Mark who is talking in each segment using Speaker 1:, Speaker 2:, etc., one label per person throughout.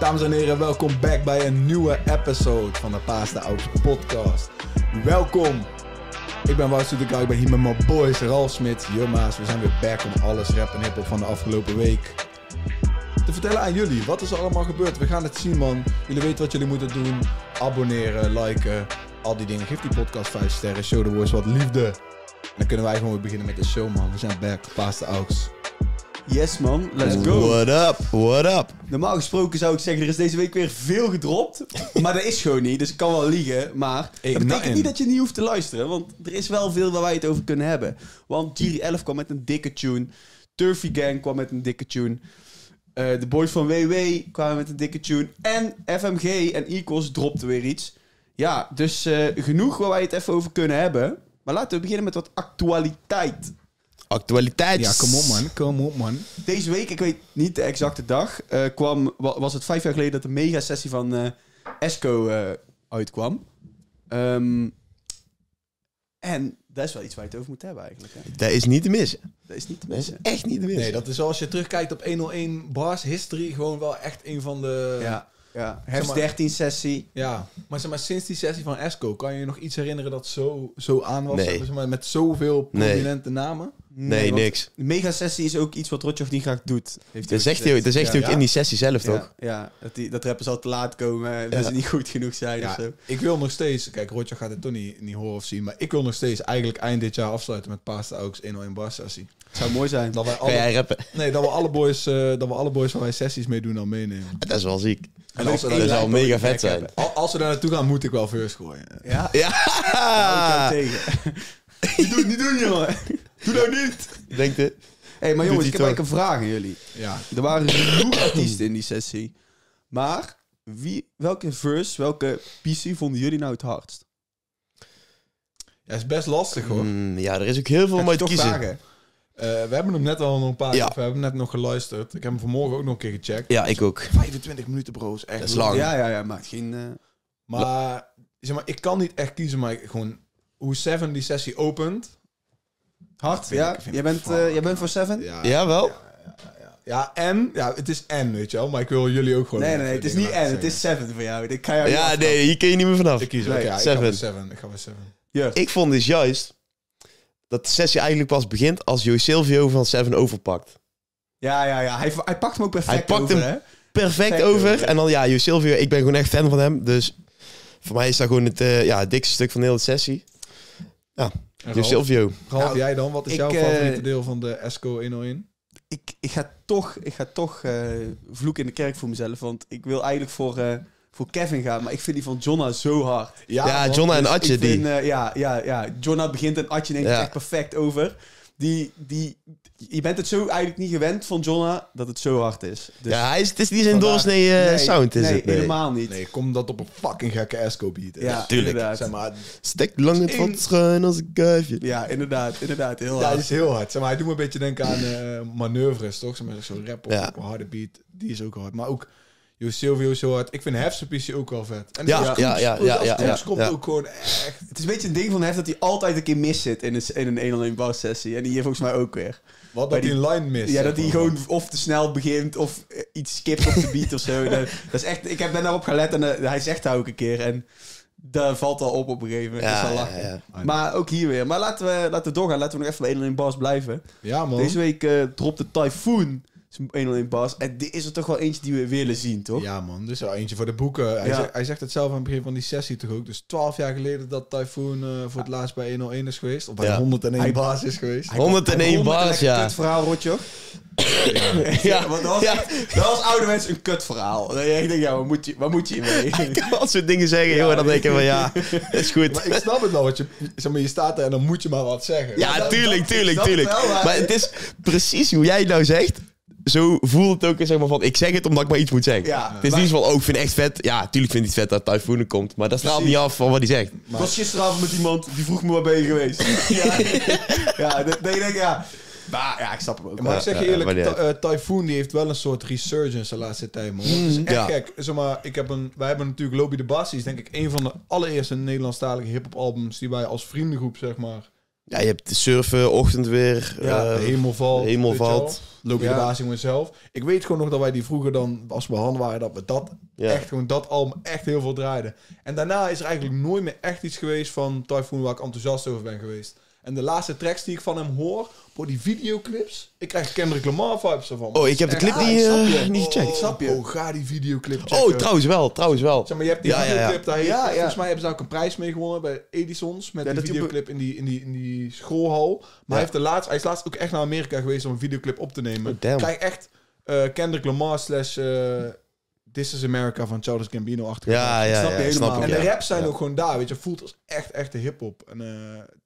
Speaker 1: Dames en heren, welkom back bij een nieuwe episode van de Paasta Ouds podcast. Welkom! Ik ben Wout Soetekou, ik ben hier met mijn boys Ralf Smit, Jumma's. We zijn weer back om alles rap en hiphop van de afgelopen week te vertellen aan jullie. Wat is er allemaal gebeurd? We gaan het zien, man. Jullie weten wat jullie moeten doen. Abonneren, liken, al die dingen. Geef die podcast 5 sterren, show de boys wat liefde. En dan kunnen wij gewoon weer beginnen met de show, man. We zijn back, Paasta Ouds.
Speaker 2: Yes man, let's go.
Speaker 3: What up, what up?
Speaker 2: Normaal gesproken zou ik zeggen, er is deze week weer veel gedropt. Maar dat is gewoon niet, dus ik kan wel liegen. Maar dat
Speaker 1: Ik
Speaker 2: betekent
Speaker 1: nou-
Speaker 2: niet dat je niet hoeft te luisteren. Want er is wel veel waar wij het over kunnen hebben. Want Giri 11 kwam met een dikke tune. Turfy Gang kwam met een dikke tune. Eh, de boys van WW kwamen met een dikke tune. En FMG en Equals dropten weer iets. Ja, dus eh, genoeg waar wij het even over kunnen hebben. Maar laten we beginnen met wat actualiteit.
Speaker 3: Actualiteit.
Speaker 1: Ja, kom op, man. Kom op, man.
Speaker 2: Deze week, ik weet niet de exacte dag, eh, kwam, wa- was het vijf jaar geleden dat de mega-sessie van eh, Esco eh, uitkwam. Ehm, en dat is wel iets waar je het over moet hebben eigenlijk. Hè?
Speaker 3: Dat is niet te missen.
Speaker 2: Dat is niet te
Speaker 3: Dat is
Speaker 2: missen.
Speaker 3: echt niet te missen.
Speaker 1: Nee, dat is wel als je terugkijkt op 101 Bars History gewoon wel echt een van de...
Speaker 2: Ja, ja.
Speaker 1: Zeg
Speaker 2: Herfst
Speaker 1: maar-
Speaker 2: 13 sessie.
Speaker 1: Ja, maar, zeg maar sinds die sessie van Esco, kan je je nog iets herinneren dat zo, zo aan was?
Speaker 3: Nee.
Speaker 1: Zeg maar, met zoveel
Speaker 3: Nee.
Speaker 1: prominente namen?
Speaker 3: nee,
Speaker 2: want
Speaker 3: niks.
Speaker 2: De mega-sessie is ook iets wat Rotjoch niet graag doet. Heeft
Speaker 3: Dat zegt hij ook, dat zegt hij
Speaker 1: Ja,
Speaker 3: ook
Speaker 1: ja.
Speaker 3: in die sessie zelf,
Speaker 2: Ja,
Speaker 3: toch?
Speaker 2: ja, dat, die, dat rappers al te laat komen, eh, dat
Speaker 3: Ja.
Speaker 2: ze niet goed genoeg zijn of
Speaker 1: Ja,
Speaker 2: zo.
Speaker 1: ik wil nog steeds, kijk, Roger gaat het toch niet, niet horen of zien, maar ik wil nog steeds eigenlijk eind dit jaar afsluiten met Paasta Auks 101 Bars sessie.
Speaker 2: Het zou mooi zijn.
Speaker 1: Dat, wij
Speaker 3: Kan
Speaker 1: alle,
Speaker 3: jij rappen?
Speaker 1: nee, dat, we alle boys, eh, dat we alle boys waar wij sessies mee doen dan meenemen.
Speaker 3: Dat is wel ziek.
Speaker 1: En
Speaker 3: dat
Speaker 1: als we daar-
Speaker 3: zou
Speaker 1: lijkt me
Speaker 3: mega
Speaker 2: ook
Speaker 3: vet
Speaker 2: gek
Speaker 3: zijn.
Speaker 1: Al- Als we daar naartoe gaan, moet ik wel first gooien.
Speaker 2: Ja,
Speaker 3: Ja,
Speaker 2: ah. tegen. niet doen, niet doen, jongen. Doe nou niet.
Speaker 3: denk je?
Speaker 2: Hé, hey, maar
Speaker 3: Doet
Speaker 2: jongens,
Speaker 3: hij
Speaker 2: ik heb
Speaker 3: toch.
Speaker 2: eigenlijk een vraag aan jullie.
Speaker 1: Ja,
Speaker 2: Er waren dus genoeg artiesten in die sessie. Maar wie, welke verse, welke PC vonden jullie nou het hardst?
Speaker 1: ja is best lastig hoor.
Speaker 3: Mm, ja, er is ook heel veel om
Speaker 2: Heb je
Speaker 3: uit te
Speaker 2: toch
Speaker 3: kiezen.
Speaker 2: vragen?
Speaker 1: Eh, we hebben hem net al nog een paar
Speaker 3: Ja.
Speaker 1: keer, we hebben hem net nog geluisterd. Ik heb hem vanmorgen ook nog een keer gecheckt.
Speaker 3: Ja, ik ook.
Speaker 1: 25 minuten bro's, echt
Speaker 3: Dat is lang.
Speaker 2: Ja, ja, ja, maar geen... eh,
Speaker 1: Maar, zeg maar, ik kan niet echt kiezen, maar ik- gewoon hoe Seven die sessie opent.
Speaker 2: hard,
Speaker 1: vind ik-
Speaker 2: ja?
Speaker 1: vind
Speaker 2: jij,
Speaker 1: ik
Speaker 2: bent,
Speaker 1: fuck,
Speaker 2: eh, jij bent voor Seven?
Speaker 1: Ja, ja.
Speaker 3: Ja, wel?
Speaker 1: en, ja, het is en, weet je wel, maar ik wil jullie ook gewoon.
Speaker 2: Nee, nee, nee, het is niet en, het is Seven voor jou. Ik kan jou niet
Speaker 3: Ja,
Speaker 2: afpakken.
Speaker 3: nee, hier kun je niet meer vanaf.
Speaker 1: Ik kies
Speaker 2: Nee,
Speaker 1: ook, ja, ik
Speaker 3: Seven.
Speaker 1: ga voor Seven. Ik ga voor Seven.
Speaker 2: Juist.
Speaker 3: Ik vond dus juist dat de sessie eigenlijk pas begint als Joey Silvio van Seven overpakt.
Speaker 2: Ja, ja, ja. Hij, hij pakt hem ook perfect
Speaker 3: Hij pakt
Speaker 2: over,
Speaker 3: hem-
Speaker 2: hè?
Speaker 3: perfect
Speaker 2: Perfect
Speaker 3: over.
Speaker 2: over.
Speaker 3: En dan, ja, Jo Silvio, ik ben gewoon echt fan van hem. Dus voor mij is dat gewoon het, eh, ja, het dikste stuk van de hele sessie. Ja, Jo
Speaker 1: Ralf?
Speaker 3: Silvio.
Speaker 1: Ralf,
Speaker 2: Nou,
Speaker 1: jij dan? Wat is
Speaker 2: ik,
Speaker 1: jouw
Speaker 2: eh,
Speaker 1: favoriete deel van de Esco 101?
Speaker 2: Ik, ik ga toch, ik ga toch eh, vloek in de kerk voor mezelf. Want ik wil eigenlijk voor, eh, voor Kevin gaan. Maar ik vind die van Jonna zo hard.
Speaker 3: Ja,
Speaker 1: want-
Speaker 3: Jonna en
Speaker 2: Dus ik
Speaker 3: Atje, die.
Speaker 2: vind, eh, ja, ja, ja. Jonna begint en Atje neemt
Speaker 3: Ja.
Speaker 2: het echt perfect over. Die, die, je bent het zo eigenlijk niet gewend van Jonna dat het zo hard is. Dus
Speaker 3: ja, hij is, het is niet zijn
Speaker 2: vandaar-
Speaker 3: doorsnee eh,
Speaker 2: Nee,
Speaker 3: sound, is
Speaker 2: nee,
Speaker 3: het? Nee,
Speaker 2: helemaal niet.
Speaker 1: Nee, kom dat op een fucking gekke Esco beat. hè.
Speaker 2: Ja,
Speaker 3: tuurlijk.
Speaker 2: Inderdaad.
Speaker 1: Zeg maar,
Speaker 3: Stek lang het
Speaker 1: Eén.
Speaker 3: wat schuin als een kuifje.
Speaker 2: Ja, inderdaad. Inderdaad, heel
Speaker 1: ja,
Speaker 2: hard.
Speaker 1: dat
Speaker 3: dus-
Speaker 1: is heel hard. Zeg maar, hij doet me een beetje denken aan eh, manoeuvres, toch? Zeg maar, zo'n rap op
Speaker 3: Ja.
Speaker 1: op een harde beat. Die is ook hard. Maar ook Jo Silvio is heel hard. Ik vind Hefsepici ook wel vet. En
Speaker 3: Ja,
Speaker 1: Koeks-
Speaker 3: ja, ja,
Speaker 1: Koeks-
Speaker 3: ja, ja,
Speaker 1: Koeks
Speaker 3: ja,
Speaker 1: komt
Speaker 3: ja.
Speaker 1: ook gewoon echt...
Speaker 2: Het is een beetje een ding van hem dat hij altijd een keer mis zit in een, in een 1 1 bar sessie. En die hier volgens mij ook weer.
Speaker 1: Wat
Speaker 2: Bij
Speaker 1: dat die
Speaker 2: die-
Speaker 1: line mist.
Speaker 2: Ja,
Speaker 3: eh,
Speaker 1: zeg
Speaker 2: dat hij
Speaker 1: maar.
Speaker 2: gewoon of te snel begint of eh, iets skipt op de beat of zo. Dat, dat is echt, ik heb ben daarop gelet en eh, hij zegt dat ook een keer. En daar valt al op op een gegeven moment.
Speaker 3: Ja,
Speaker 2: Ja, dat is wel
Speaker 3: ja,
Speaker 2: lachen.
Speaker 3: ja.
Speaker 2: Maar ook hier weer. Maar laten we, laten we doorgaan. Laten we nog even bij 101 Bas blijven.
Speaker 1: Ja, man.
Speaker 2: Deze week eh dropte Typhoon zijn 101 Bas. En dit is er toch wel eentje die we willen zien, toch?
Speaker 1: Ja, man. Dus wel eentje voor de boeken. Hij,
Speaker 2: Ja.
Speaker 1: zegt, hij zegt het zelf aan het begin van die sessie toch ook. Dus 12 jaar geleden dat Typhoon eh, voor het laatst bij 101 is geweest. Of bij
Speaker 3: Ja.
Speaker 1: 101
Speaker 2: Hij-
Speaker 1: baas is geweest.
Speaker 2: Hij
Speaker 3: 101
Speaker 2: komt- hij komt met
Speaker 3: bars,
Speaker 2: een lekker
Speaker 3: ja.
Speaker 2: kutverhaal, Rotjoch.
Speaker 3: Ja,
Speaker 2: want dat was,
Speaker 3: Ja.
Speaker 2: echt- dat was ouderwets een kutverhaal. Dat je echt denkt, ja, waar moet je, waar moet je mee?
Speaker 3: Als ze dingen zeggen, joh, dan denk ik van ja, dat is
Speaker 1: Maar
Speaker 3: goed.
Speaker 1: ik snap het wel. Want je, zeg maar, je staat er en dan moet je maar wat zeggen.
Speaker 3: Ja, tuurlijk, tuurlijk,
Speaker 2: snap het
Speaker 3: tuurlijk.
Speaker 2: wel, maar-
Speaker 3: Maar het is precies hoe jij het nou zegt. Zo voelt het ook zeg maar, van, ik zeg het omdat ik maar iets moet zeggen.
Speaker 2: Ja,
Speaker 3: het is
Speaker 2: maar-
Speaker 3: niet van, oh, ik vind het echt vet. Ja, tuurlijk vind ik het vet dat Typhoon er komt. Maar dat straalt
Speaker 2: Precies.
Speaker 3: niet af van wat hij zegt.
Speaker 2: Ik was gisteravond met iemand die vroeg me waar ben je geweest. ja, ja dat, dat je denkt, ja. Maar ja, ik snap hem ook.
Speaker 1: Maar
Speaker 2: wel.
Speaker 1: ik zeg je
Speaker 3: ja,
Speaker 1: eerlijk,
Speaker 3: maar niet
Speaker 1: Ty- eh, Typhoon die heeft wel een soort resurgence de laatste tijd, man. Het is echt
Speaker 3: Mm, ja.
Speaker 1: gek. Zeg maar, ik heb een, wij hebben natuurlijk Lobby de Bassi, is denk ik een van de allereerste Nederlandstalige hip-hop albums die wij als vriendengroep, zeg maar,
Speaker 3: Ja, je hebt surfen, ochtendweer,
Speaker 1: Ja,
Speaker 3: eh,
Speaker 1: hemelval.
Speaker 3: hemel
Speaker 1: weet je wel.
Speaker 3: valt.
Speaker 1: Loki
Speaker 2: Ja.
Speaker 1: de Wazingman zelf. Ik weet gewoon nog dat wij die vroeger dan, als we Han waren, dat we dat
Speaker 3: Ja.
Speaker 1: echt gewoon dat album echt heel veel draaiden. En daarna is er eigenlijk nooit meer echt iets geweest van Typhoon waar ik enthousiast over ben geweest. En de laatste tracks die ik van hem hoor, voor die videoclips, ik krijg Kendrick Lamar vibes ervan.
Speaker 3: Oh, ik heb de clip niet,
Speaker 2: snap je.
Speaker 3: eh, niet
Speaker 1: Ik
Speaker 3: gecheckt.
Speaker 1: snap je. Oh, ga die videoclip checken.
Speaker 3: Oh, trouwens wel, trouwens wel.
Speaker 1: Zeg maar, je hebt die
Speaker 3: Ja, ja, ja.
Speaker 1: videoclip, daar heeft,
Speaker 2: Ja, ja.
Speaker 1: volgens mij hebben ze daar ook een prijs mee gewonnen bij Edison's. Met
Speaker 2: Ja,
Speaker 1: die
Speaker 2: dat die
Speaker 1: videoclip in die, in die, in die schoolhal. Maar hij, heeft de laatst, hij is laatst ook echt naar Amerika geweest om een videoclip op te nemen.
Speaker 3: Oh, damn.
Speaker 1: Krijg echt eh, Kendrick Lamar slash eh, This is America van Charles Gambino achter.
Speaker 3: Ja, ja,
Speaker 2: snap je
Speaker 3: ja, ja,
Speaker 2: helemaal.
Speaker 3: snap
Speaker 1: En
Speaker 3: ik. ja.
Speaker 1: de raps zijn
Speaker 3: Ja.
Speaker 1: ook gewoon daar, weet je. Voelt als echt, echte hip-hop. En eh,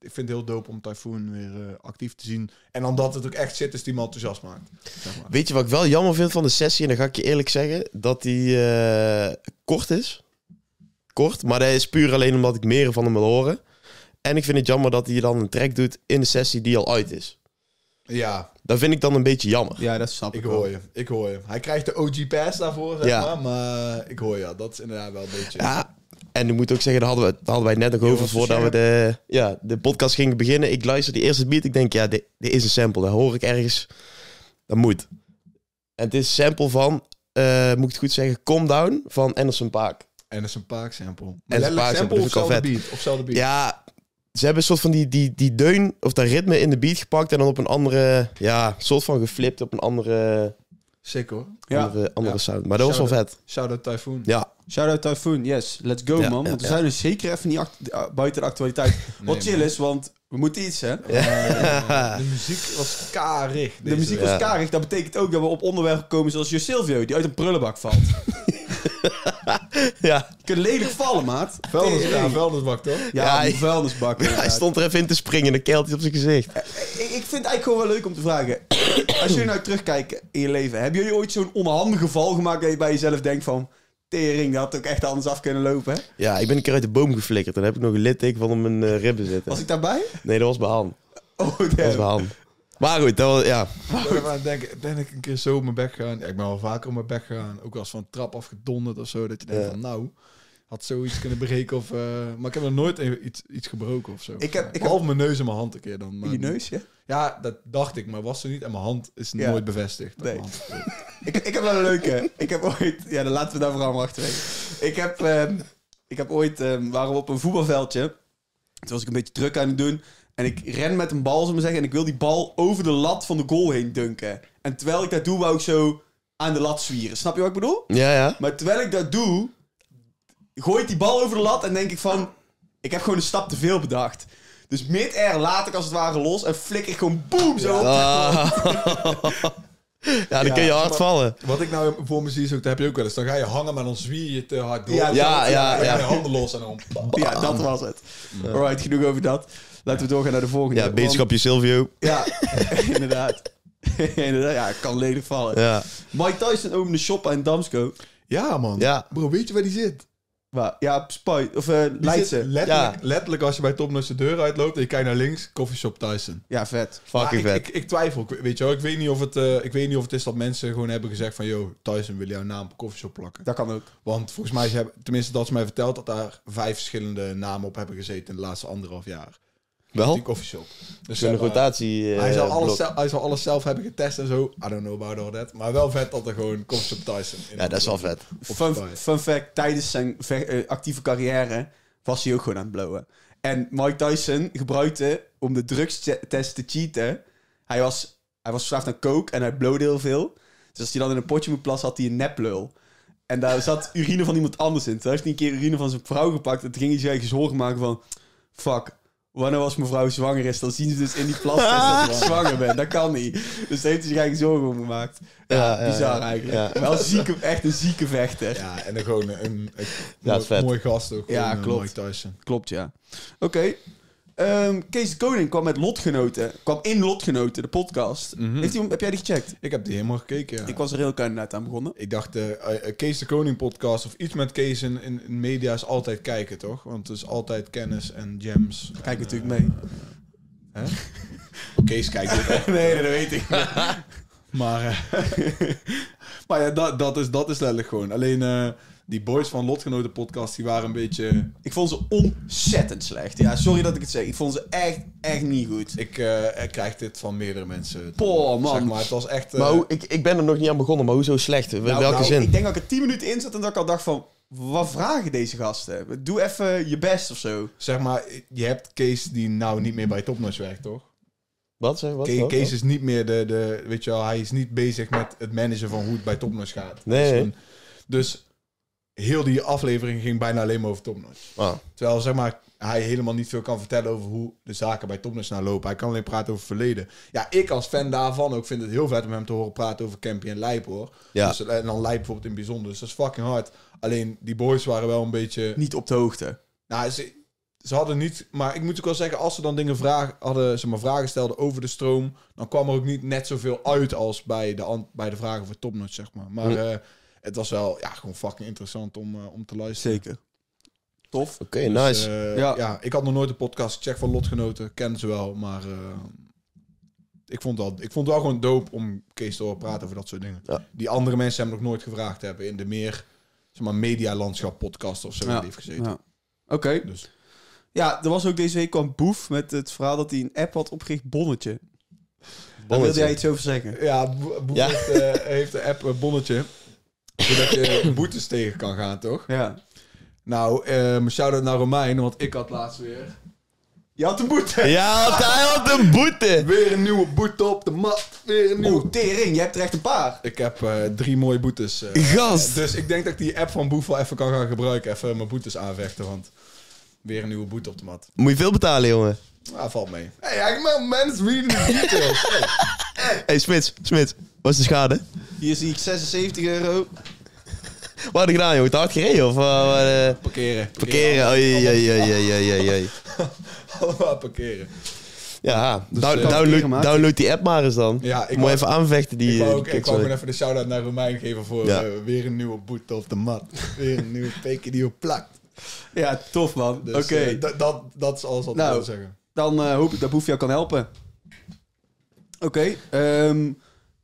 Speaker 1: ik vind het heel dope om Typhoon weer eh, actief te zien. En omdat het ook echt shit is die me enthousiast maakt. Zeg maar.
Speaker 3: Weet je wat ik wel jammer vind van de sessie? En dan ga ik je eerlijk zeggen dat die eh, kort is. Kort, maar dat is puur alleen omdat ik meer van hem wil horen. En ik vind het jammer dat hij dan een track doet in de sessie die al uit is.
Speaker 1: Ja,
Speaker 3: Dat vind ik dan een beetje jammer.
Speaker 2: Ja, dat snap ik,
Speaker 1: Ik
Speaker 2: wel.
Speaker 1: hoor je, ik hoor je. Hij krijgt de OG pass daarvoor, zeg
Speaker 3: Ja.
Speaker 1: maar. Maar ik hoor je, dat is inderdaad wel een beetje...
Speaker 3: Ja, en ik moet ook zeggen, daar hadden we, daar hadden wij het net nog over
Speaker 1: was
Speaker 3: voordat we
Speaker 1: scherp.
Speaker 3: de, ja, de podcast gingen beginnen. Ik luister die eerste beat, ik denk, ja, dit, dit is een sample. Dat hoor ik ergens. Dat moet. En het is een sample van, eh, moet ik het goed zeggen, Calm Down van Anderson Paak.
Speaker 1: En dat is een paak sample. Maar
Speaker 3: dat is een
Speaker 1: letterlijk
Speaker 3: paak
Speaker 1: sample
Speaker 3: sample,
Speaker 1: of
Speaker 3: dat vind ik
Speaker 1: zelfde
Speaker 3: al
Speaker 2: dus
Speaker 1: beat. Of zelfde beat.
Speaker 3: Ja, ze hebben een soort van die, die, die deun of dat ritme in de beat gepakt en dan op een andere, ja, soort van geflipt op een andere,
Speaker 1: Sick hoor.
Speaker 2: Ja.
Speaker 3: andere, andere
Speaker 1: Ja.
Speaker 3: sound. Maar dat was wel
Speaker 1: Shout-out.
Speaker 3: vet.
Speaker 1: Shout-out Typhoon.
Speaker 3: Ja,
Speaker 2: Shout-out Typhoon, yes. Let's go,
Speaker 3: Ja,
Speaker 2: man.
Speaker 3: ja,
Speaker 2: Want we
Speaker 3: ja.
Speaker 2: zijn dus zeker even niet act- eh, buiten de actualiteit. Wat chill is, want we moeten iets, hè?
Speaker 1: Eh, de muziek was karig.
Speaker 2: De muziek was
Speaker 3: Ja.
Speaker 2: karig. Dat betekent ook dat we op onderwerp komen zoals Jo Silvio, die uit een prullenbak valt.
Speaker 3: ja.
Speaker 2: Je kunt lelijk vallen, maat.
Speaker 1: Vuilnis,
Speaker 2: Tering.
Speaker 1: ja, vuilnisbak toch?
Speaker 2: Ja,
Speaker 3: Ja,
Speaker 2: die
Speaker 3: hij-
Speaker 2: vuilnisbak.
Speaker 3: hij
Speaker 2: inderdaad.
Speaker 3: stond er even in te springen en dan keelt hij op zijn gezicht.
Speaker 2: Ik, ik vind het eigenlijk gewoon wel leuk om te vragen. Als jullie nou terugkijken in je leven, hebben jullie ooit zo'n onhandig geval gemaakt dat je bij jezelf denkt van... Tering, dat had ook echt anders af kunnen lopen, hè?
Speaker 3: Ja, ik ben een keer uit de boom geflikkerd. Dan heb ik nog een litteken van op mijn eh, ribben zitten.
Speaker 2: Was ik daarbij?
Speaker 3: Nee, dat was mijn hand.
Speaker 2: Oh,
Speaker 3: Dat was
Speaker 2: damn.
Speaker 3: mijn hand. Maar goed, dat was, ja.
Speaker 1: Ik ben aan het denken, ben ik een keer zo op mijn bek gegaan? Ja, ik ben al vaker op mijn bek gegaan. Ook als van een trap afgedonderd of zo. Dat je denkt
Speaker 3: Ja.
Speaker 1: van nou, had zoiets kunnen breken of... eh, maar ik heb nog nooit een- iets, iets gebroken of zo.
Speaker 2: Ik heb- ik
Speaker 1: Behalve mijn neus en mijn hand een keer dan. maar-
Speaker 2: In je neus, ja?
Speaker 1: Ja, dat dacht ik, maar was er niet. En mijn hand is
Speaker 2: Ja.
Speaker 1: nooit bevestigd.
Speaker 2: Nee. Ik, ik heb wel een leuke. Ik heb ooit... Ja, dan laten we daar vooral maar achterwege. Ik heb, ehm, ik heb ooit... ehm, waren we op een voetbalveldje. Toen was ik een beetje druk aan het doen. En ik ren met een bal, zullen we zeggen. En ik wil die bal over de lat van de goal heen dunken. En terwijl ik dat doe, wou ik zo aan de lat zwieren. Snap je wat ik bedoel?
Speaker 3: Ja, ja.
Speaker 2: Maar terwijl ik dat doe, gooi ik die bal over de lat en denk ik van... Ik heb gewoon een stap te veel bedacht. Dus mid-air laat ik als het ware los en flikker ik gewoon boem zo op.
Speaker 3: Ah. ja, dan kun je hard
Speaker 1: maar-
Speaker 3: vallen.
Speaker 1: Wat ik nou voor me zie is ook, dat heb je ook wel eens. Dan ga je hangen, maar dan zwier je te hard door.
Speaker 2: Ja,
Speaker 3: ja, ja,
Speaker 1: Dan ga je
Speaker 3: ja.
Speaker 1: handen los en dan... bam.
Speaker 2: Ja, dat was het. Alright, genoeg over dat. Laten we doorgaan naar de volgende.
Speaker 3: Ja,
Speaker 2: Want-
Speaker 3: beterschapje Silvio.
Speaker 2: Ja, inderdaad. inderdaad. Ja, ik kan ledig vallen.
Speaker 3: Ja.
Speaker 2: Mike Tyson opende de shop aan Damsko.
Speaker 1: Ja, man.
Speaker 3: Ja.
Speaker 1: Bro, weet je waar die zit?
Speaker 2: Waar? Ja, Spuit. Of eh
Speaker 1: Die
Speaker 2: Leidse.
Speaker 1: zit letterlijk, letterlijk als je bij Tom Nuts de deur uitloopt en je kijkt naar links, coffeeshop Tyson.
Speaker 2: Ja, vet.
Speaker 1: Maar
Speaker 3: Fucking
Speaker 1: ik,
Speaker 3: vet.
Speaker 1: ik, ik twijfel, ik- weet je wel. Ik weet, niet of het, eh, ik weet niet of het is dat mensen gewoon hebben gezegd van... Yo, Tyson wil jouw naam op een coffeeshop plakken.
Speaker 2: Dat kan ook.
Speaker 1: Want volgens mij, ze hebben, tenminste dat ze mij verteld... dat daar vijf verschillende namen op hebben gezeten in de laatste anderhalf jaar.
Speaker 3: Wel,
Speaker 2: Oh.
Speaker 1: Die coffeeshop. Dus ze
Speaker 3: zo'n
Speaker 1: hebben-
Speaker 3: rotatie. eh,
Speaker 1: hij, zou alles
Speaker 3: blok.
Speaker 1: zelf, hij zou alles zelf hebben getest en zo. I don't know about all that. Maar wel vet dat er gewoon coffeeshop Tyson in
Speaker 3: Ja, dat is wel vet.
Speaker 1: Spotify.
Speaker 2: Fun, fun fact, tijdens zijn ve- eh, actieve carrière was hij ook gewoon aan het blowen. En Mike Tyson gebruikte om de drugstest te cheaten. Hij was, hij was verslaafd aan coke en hij blowde heel veel. Dus als hij dan in een potje moet plassen, had hij een neplul. En daar zat urine van iemand anders in. Toen heeft hij een keer urine van zijn vrouw gepakt. En toen ging hij zich eigenlijk zorgen maken van... Fuck, wanneer als mijn vrouw zwanger is, dan zien ze dus in die plastest dat ik zwanger ben. Dat kan niet. Dus daar heeft hij zich eigenlijk zorgen om gemaakt. Ja,
Speaker 3: Ja, ja,
Speaker 2: bizar
Speaker 3: ja.
Speaker 2: eigenlijk. Wel zieke, echt een zieke vechter.
Speaker 1: Ja, en dan gewoon een, een, een
Speaker 3: Ja,
Speaker 1: mooi,
Speaker 3: is vet.
Speaker 1: mooi gast ook.
Speaker 2: Ja,
Speaker 1: gewoon, eh,
Speaker 2: klopt.
Speaker 1: Mike Tyson.
Speaker 2: Klopt, ja. Oké. Ehm, Kees de Koning kwam met Lotgenoten. Kwam in Lotgenoten, de podcast. Heeft die, heb jij die gecheckt?
Speaker 1: Ik heb die helemaal gekeken, ja.
Speaker 2: Ik was er heel kandidaat aan begonnen.
Speaker 1: Ik dacht, eh eh, Kees de Koning podcast of iets met Kees in, in, in media is altijd kijken, toch? Want het is altijd kennis en gems.
Speaker 2: Kijk natuurlijk mee.
Speaker 1: Kees kijkt dit ook.
Speaker 2: nee, dat weet ik.
Speaker 1: Maar, eh, Maar ja, dat, dat, is, dat is letterlijk gewoon. Alleen eh, die boys van Lotgenoten podcast, die waren een beetje...
Speaker 2: Ik vond ze ontzettend slecht. Ja, sorry dat ik het zeg. Ik vond ze echt, echt niet goed.
Speaker 1: Ik eh, ik krijg dit van meerdere mensen.
Speaker 2: Poh, man.
Speaker 1: Zeg maar, het was echt... eh,
Speaker 3: Maar hoe- ik, ik ben er nog niet aan begonnen, maar hoezo slecht? In
Speaker 2: Nou,
Speaker 3: welke
Speaker 2: nou,
Speaker 3: zin?
Speaker 2: Ik denk dat ik er 10 minuten in zat en dat ik al dacht van... Wat vragen deze gasten? Doe even je best of zo.
Speaker 1: Zeg maar, je hebt Kees die nou niet meer bij Topnotch werkt, toch?
Speaker 3: Wat? Zeg, wat,
Speaker 1: Ke-
Speaker 3: wat,
Speaker 1: Kees
Speaker 3: wat?
Speaker 1: is niet meer de, de... Weet je wel, hij is niet bezig met het managen van hoe het bij Topnotch gaat.
Speaker 3: Nee.
Speaker 1: Dus, een- dus heel die aflevering ging bijna alleen maar over Topnotch.
Speaker 3: Ah,
Speaker 1: Terwijl zeg maar, hij helemaal niet veel kan vertellen over hoe de zaken bij Topnotch nou lopen. Hij kan alleen praten over het verleden. Ja, ik als fan daarvan ook vind het heel vet om hem te horen praten over Campy en Lijp, hoor.
Speaker 3: Ja.
Speaker 1: Dus, en dan Lijp bijvoorbeeld in het bijzonder. Dus dat is fucking hard. Alleen, die boys waren wel een beetje...
Speaker 2: Niet op de hoogte.
Speaker 1: Nou, ze, ze hadden niet... Maar ik moet ook wel zeggen, als ze dan dingen vragen, hadden, zeg maar, vragen stelden over de stroom... dan kwam er ook niet net zoveel uit als bij de, an- bij de vragen voor Topnotch, zeg maar. Maar eh, het was wel ja, gewoon fucking interessant om, eh, om te luisteren.
Speaker 2: Tof.
Speaker 3: Oké,
Speaker 1: Dus,
Speaker 3: nice.
Speaker 1: eh,
Speaker 2: Ja.
Speaker 1: ja. ik had nog nooit een podcast gecheckt van lotgenoten. Kennen ze wel, maar eh, ik, vond wel, ik vond wel gewoon dope om Kees te horen praten over dat soort dingen.
Speaker 3: Ja.
Speaker 1: Die andere mensen hem nog nooit gevraagd hebben in de meer zeg maar, medialandschap podcast of zo.
Speaker 2: Ja.
Speaker 1: Die heeft gezeten.
Speaker 2: Ja. Oké.
Speaker 1: Dus
Speaker 2: Ja, er was ook deze week kwam Boef met het verhaal dat hij een app had opgericht, Bonnetje. Daar wilde
Speaker 3: Bonnetje.
Speaker 2: jij iets over zeggen.
Speaker 1: ja, Bo- Bo-
Speaker 3: Ja.
Speaker 1: Heeft, eh, heeft de app een bonnetje. Zodat je boetes tegen kan gaan, toch?
Speaker 2: Ja.
Speaker 1: Nou, eh shout-out naar Romein, want ik had laatst weer...
Speaker 2: Je had een boete.
Speaker 3: Ja, want hij had een boete.
Speaker 1: Weer een nieuwe boete op de mat. Weer een nieuwe...
Speaker 2: Oeh, tering, je hebt er echt een paar.
Speaker 1: Ik heb eh, drie mooie boetes. eh,
Speaker 3: Gast.
Speaker 1: Dus ik denk dat ik die app van Boef wel even kan gaan gebruiken. Even mijn boetes aanvechten, want weer een nieuwe boete op de mat.
Speaker 3: Moet je veel betalen, jongen.
Speaker 1: Ah, valt mee. Hey, I man, man's reading the details. Hey.
Speaker 3: Hé, hey, Smits, Smits. Wat is de schade?
Speaker 2: Hier zie ik 76 euro.
Speaker 3: Wat had ik gedaan, jongen? Te hard gereden of... eh, wat, eh,
Speaker 1: Parkeren.
Speaker 3: parkeren? Oei, oei, oei, oei, oei, oei, oei.
Speaker 1: Allemaal parkeren.
Speaker 3: Ja,
Speaker 1: eh,
Speaker 3: down-
Speaker 2: parkeren,
Speaker 3: download,
Speaker 2: maat.
Speaker 3: download die app maar eens dan.
Speaker 1: Ja, ik
Speaker 3: Moet
Speaker 1: wou-
Speaker 3: even aanvechten die... eh,
Speaker 1: Ik wou, ook,
Speaker 3: die
Speaker 1: ik wou
Speaker 3: kutzooi.
Speaker 1: gewoon even de shout-out naar Romein geven voor
Speaker 3: Ja.
Speaker 1: eh, weer een nieuwe boete op de mat. Weer een nieuwe peker die op plakt.
Speaker 2: Ja, tof man.
Speaker 1: Dus,
Speaker 2: Oké,
Speaker 1: eh, dat- dat, dat is alles wat
Speaker 2: Nou.
Speaker 1: ik wil zeggen.
Speaker 2: dan eh, hoop ik dat Boef jou kan helpen. Oké, ehm,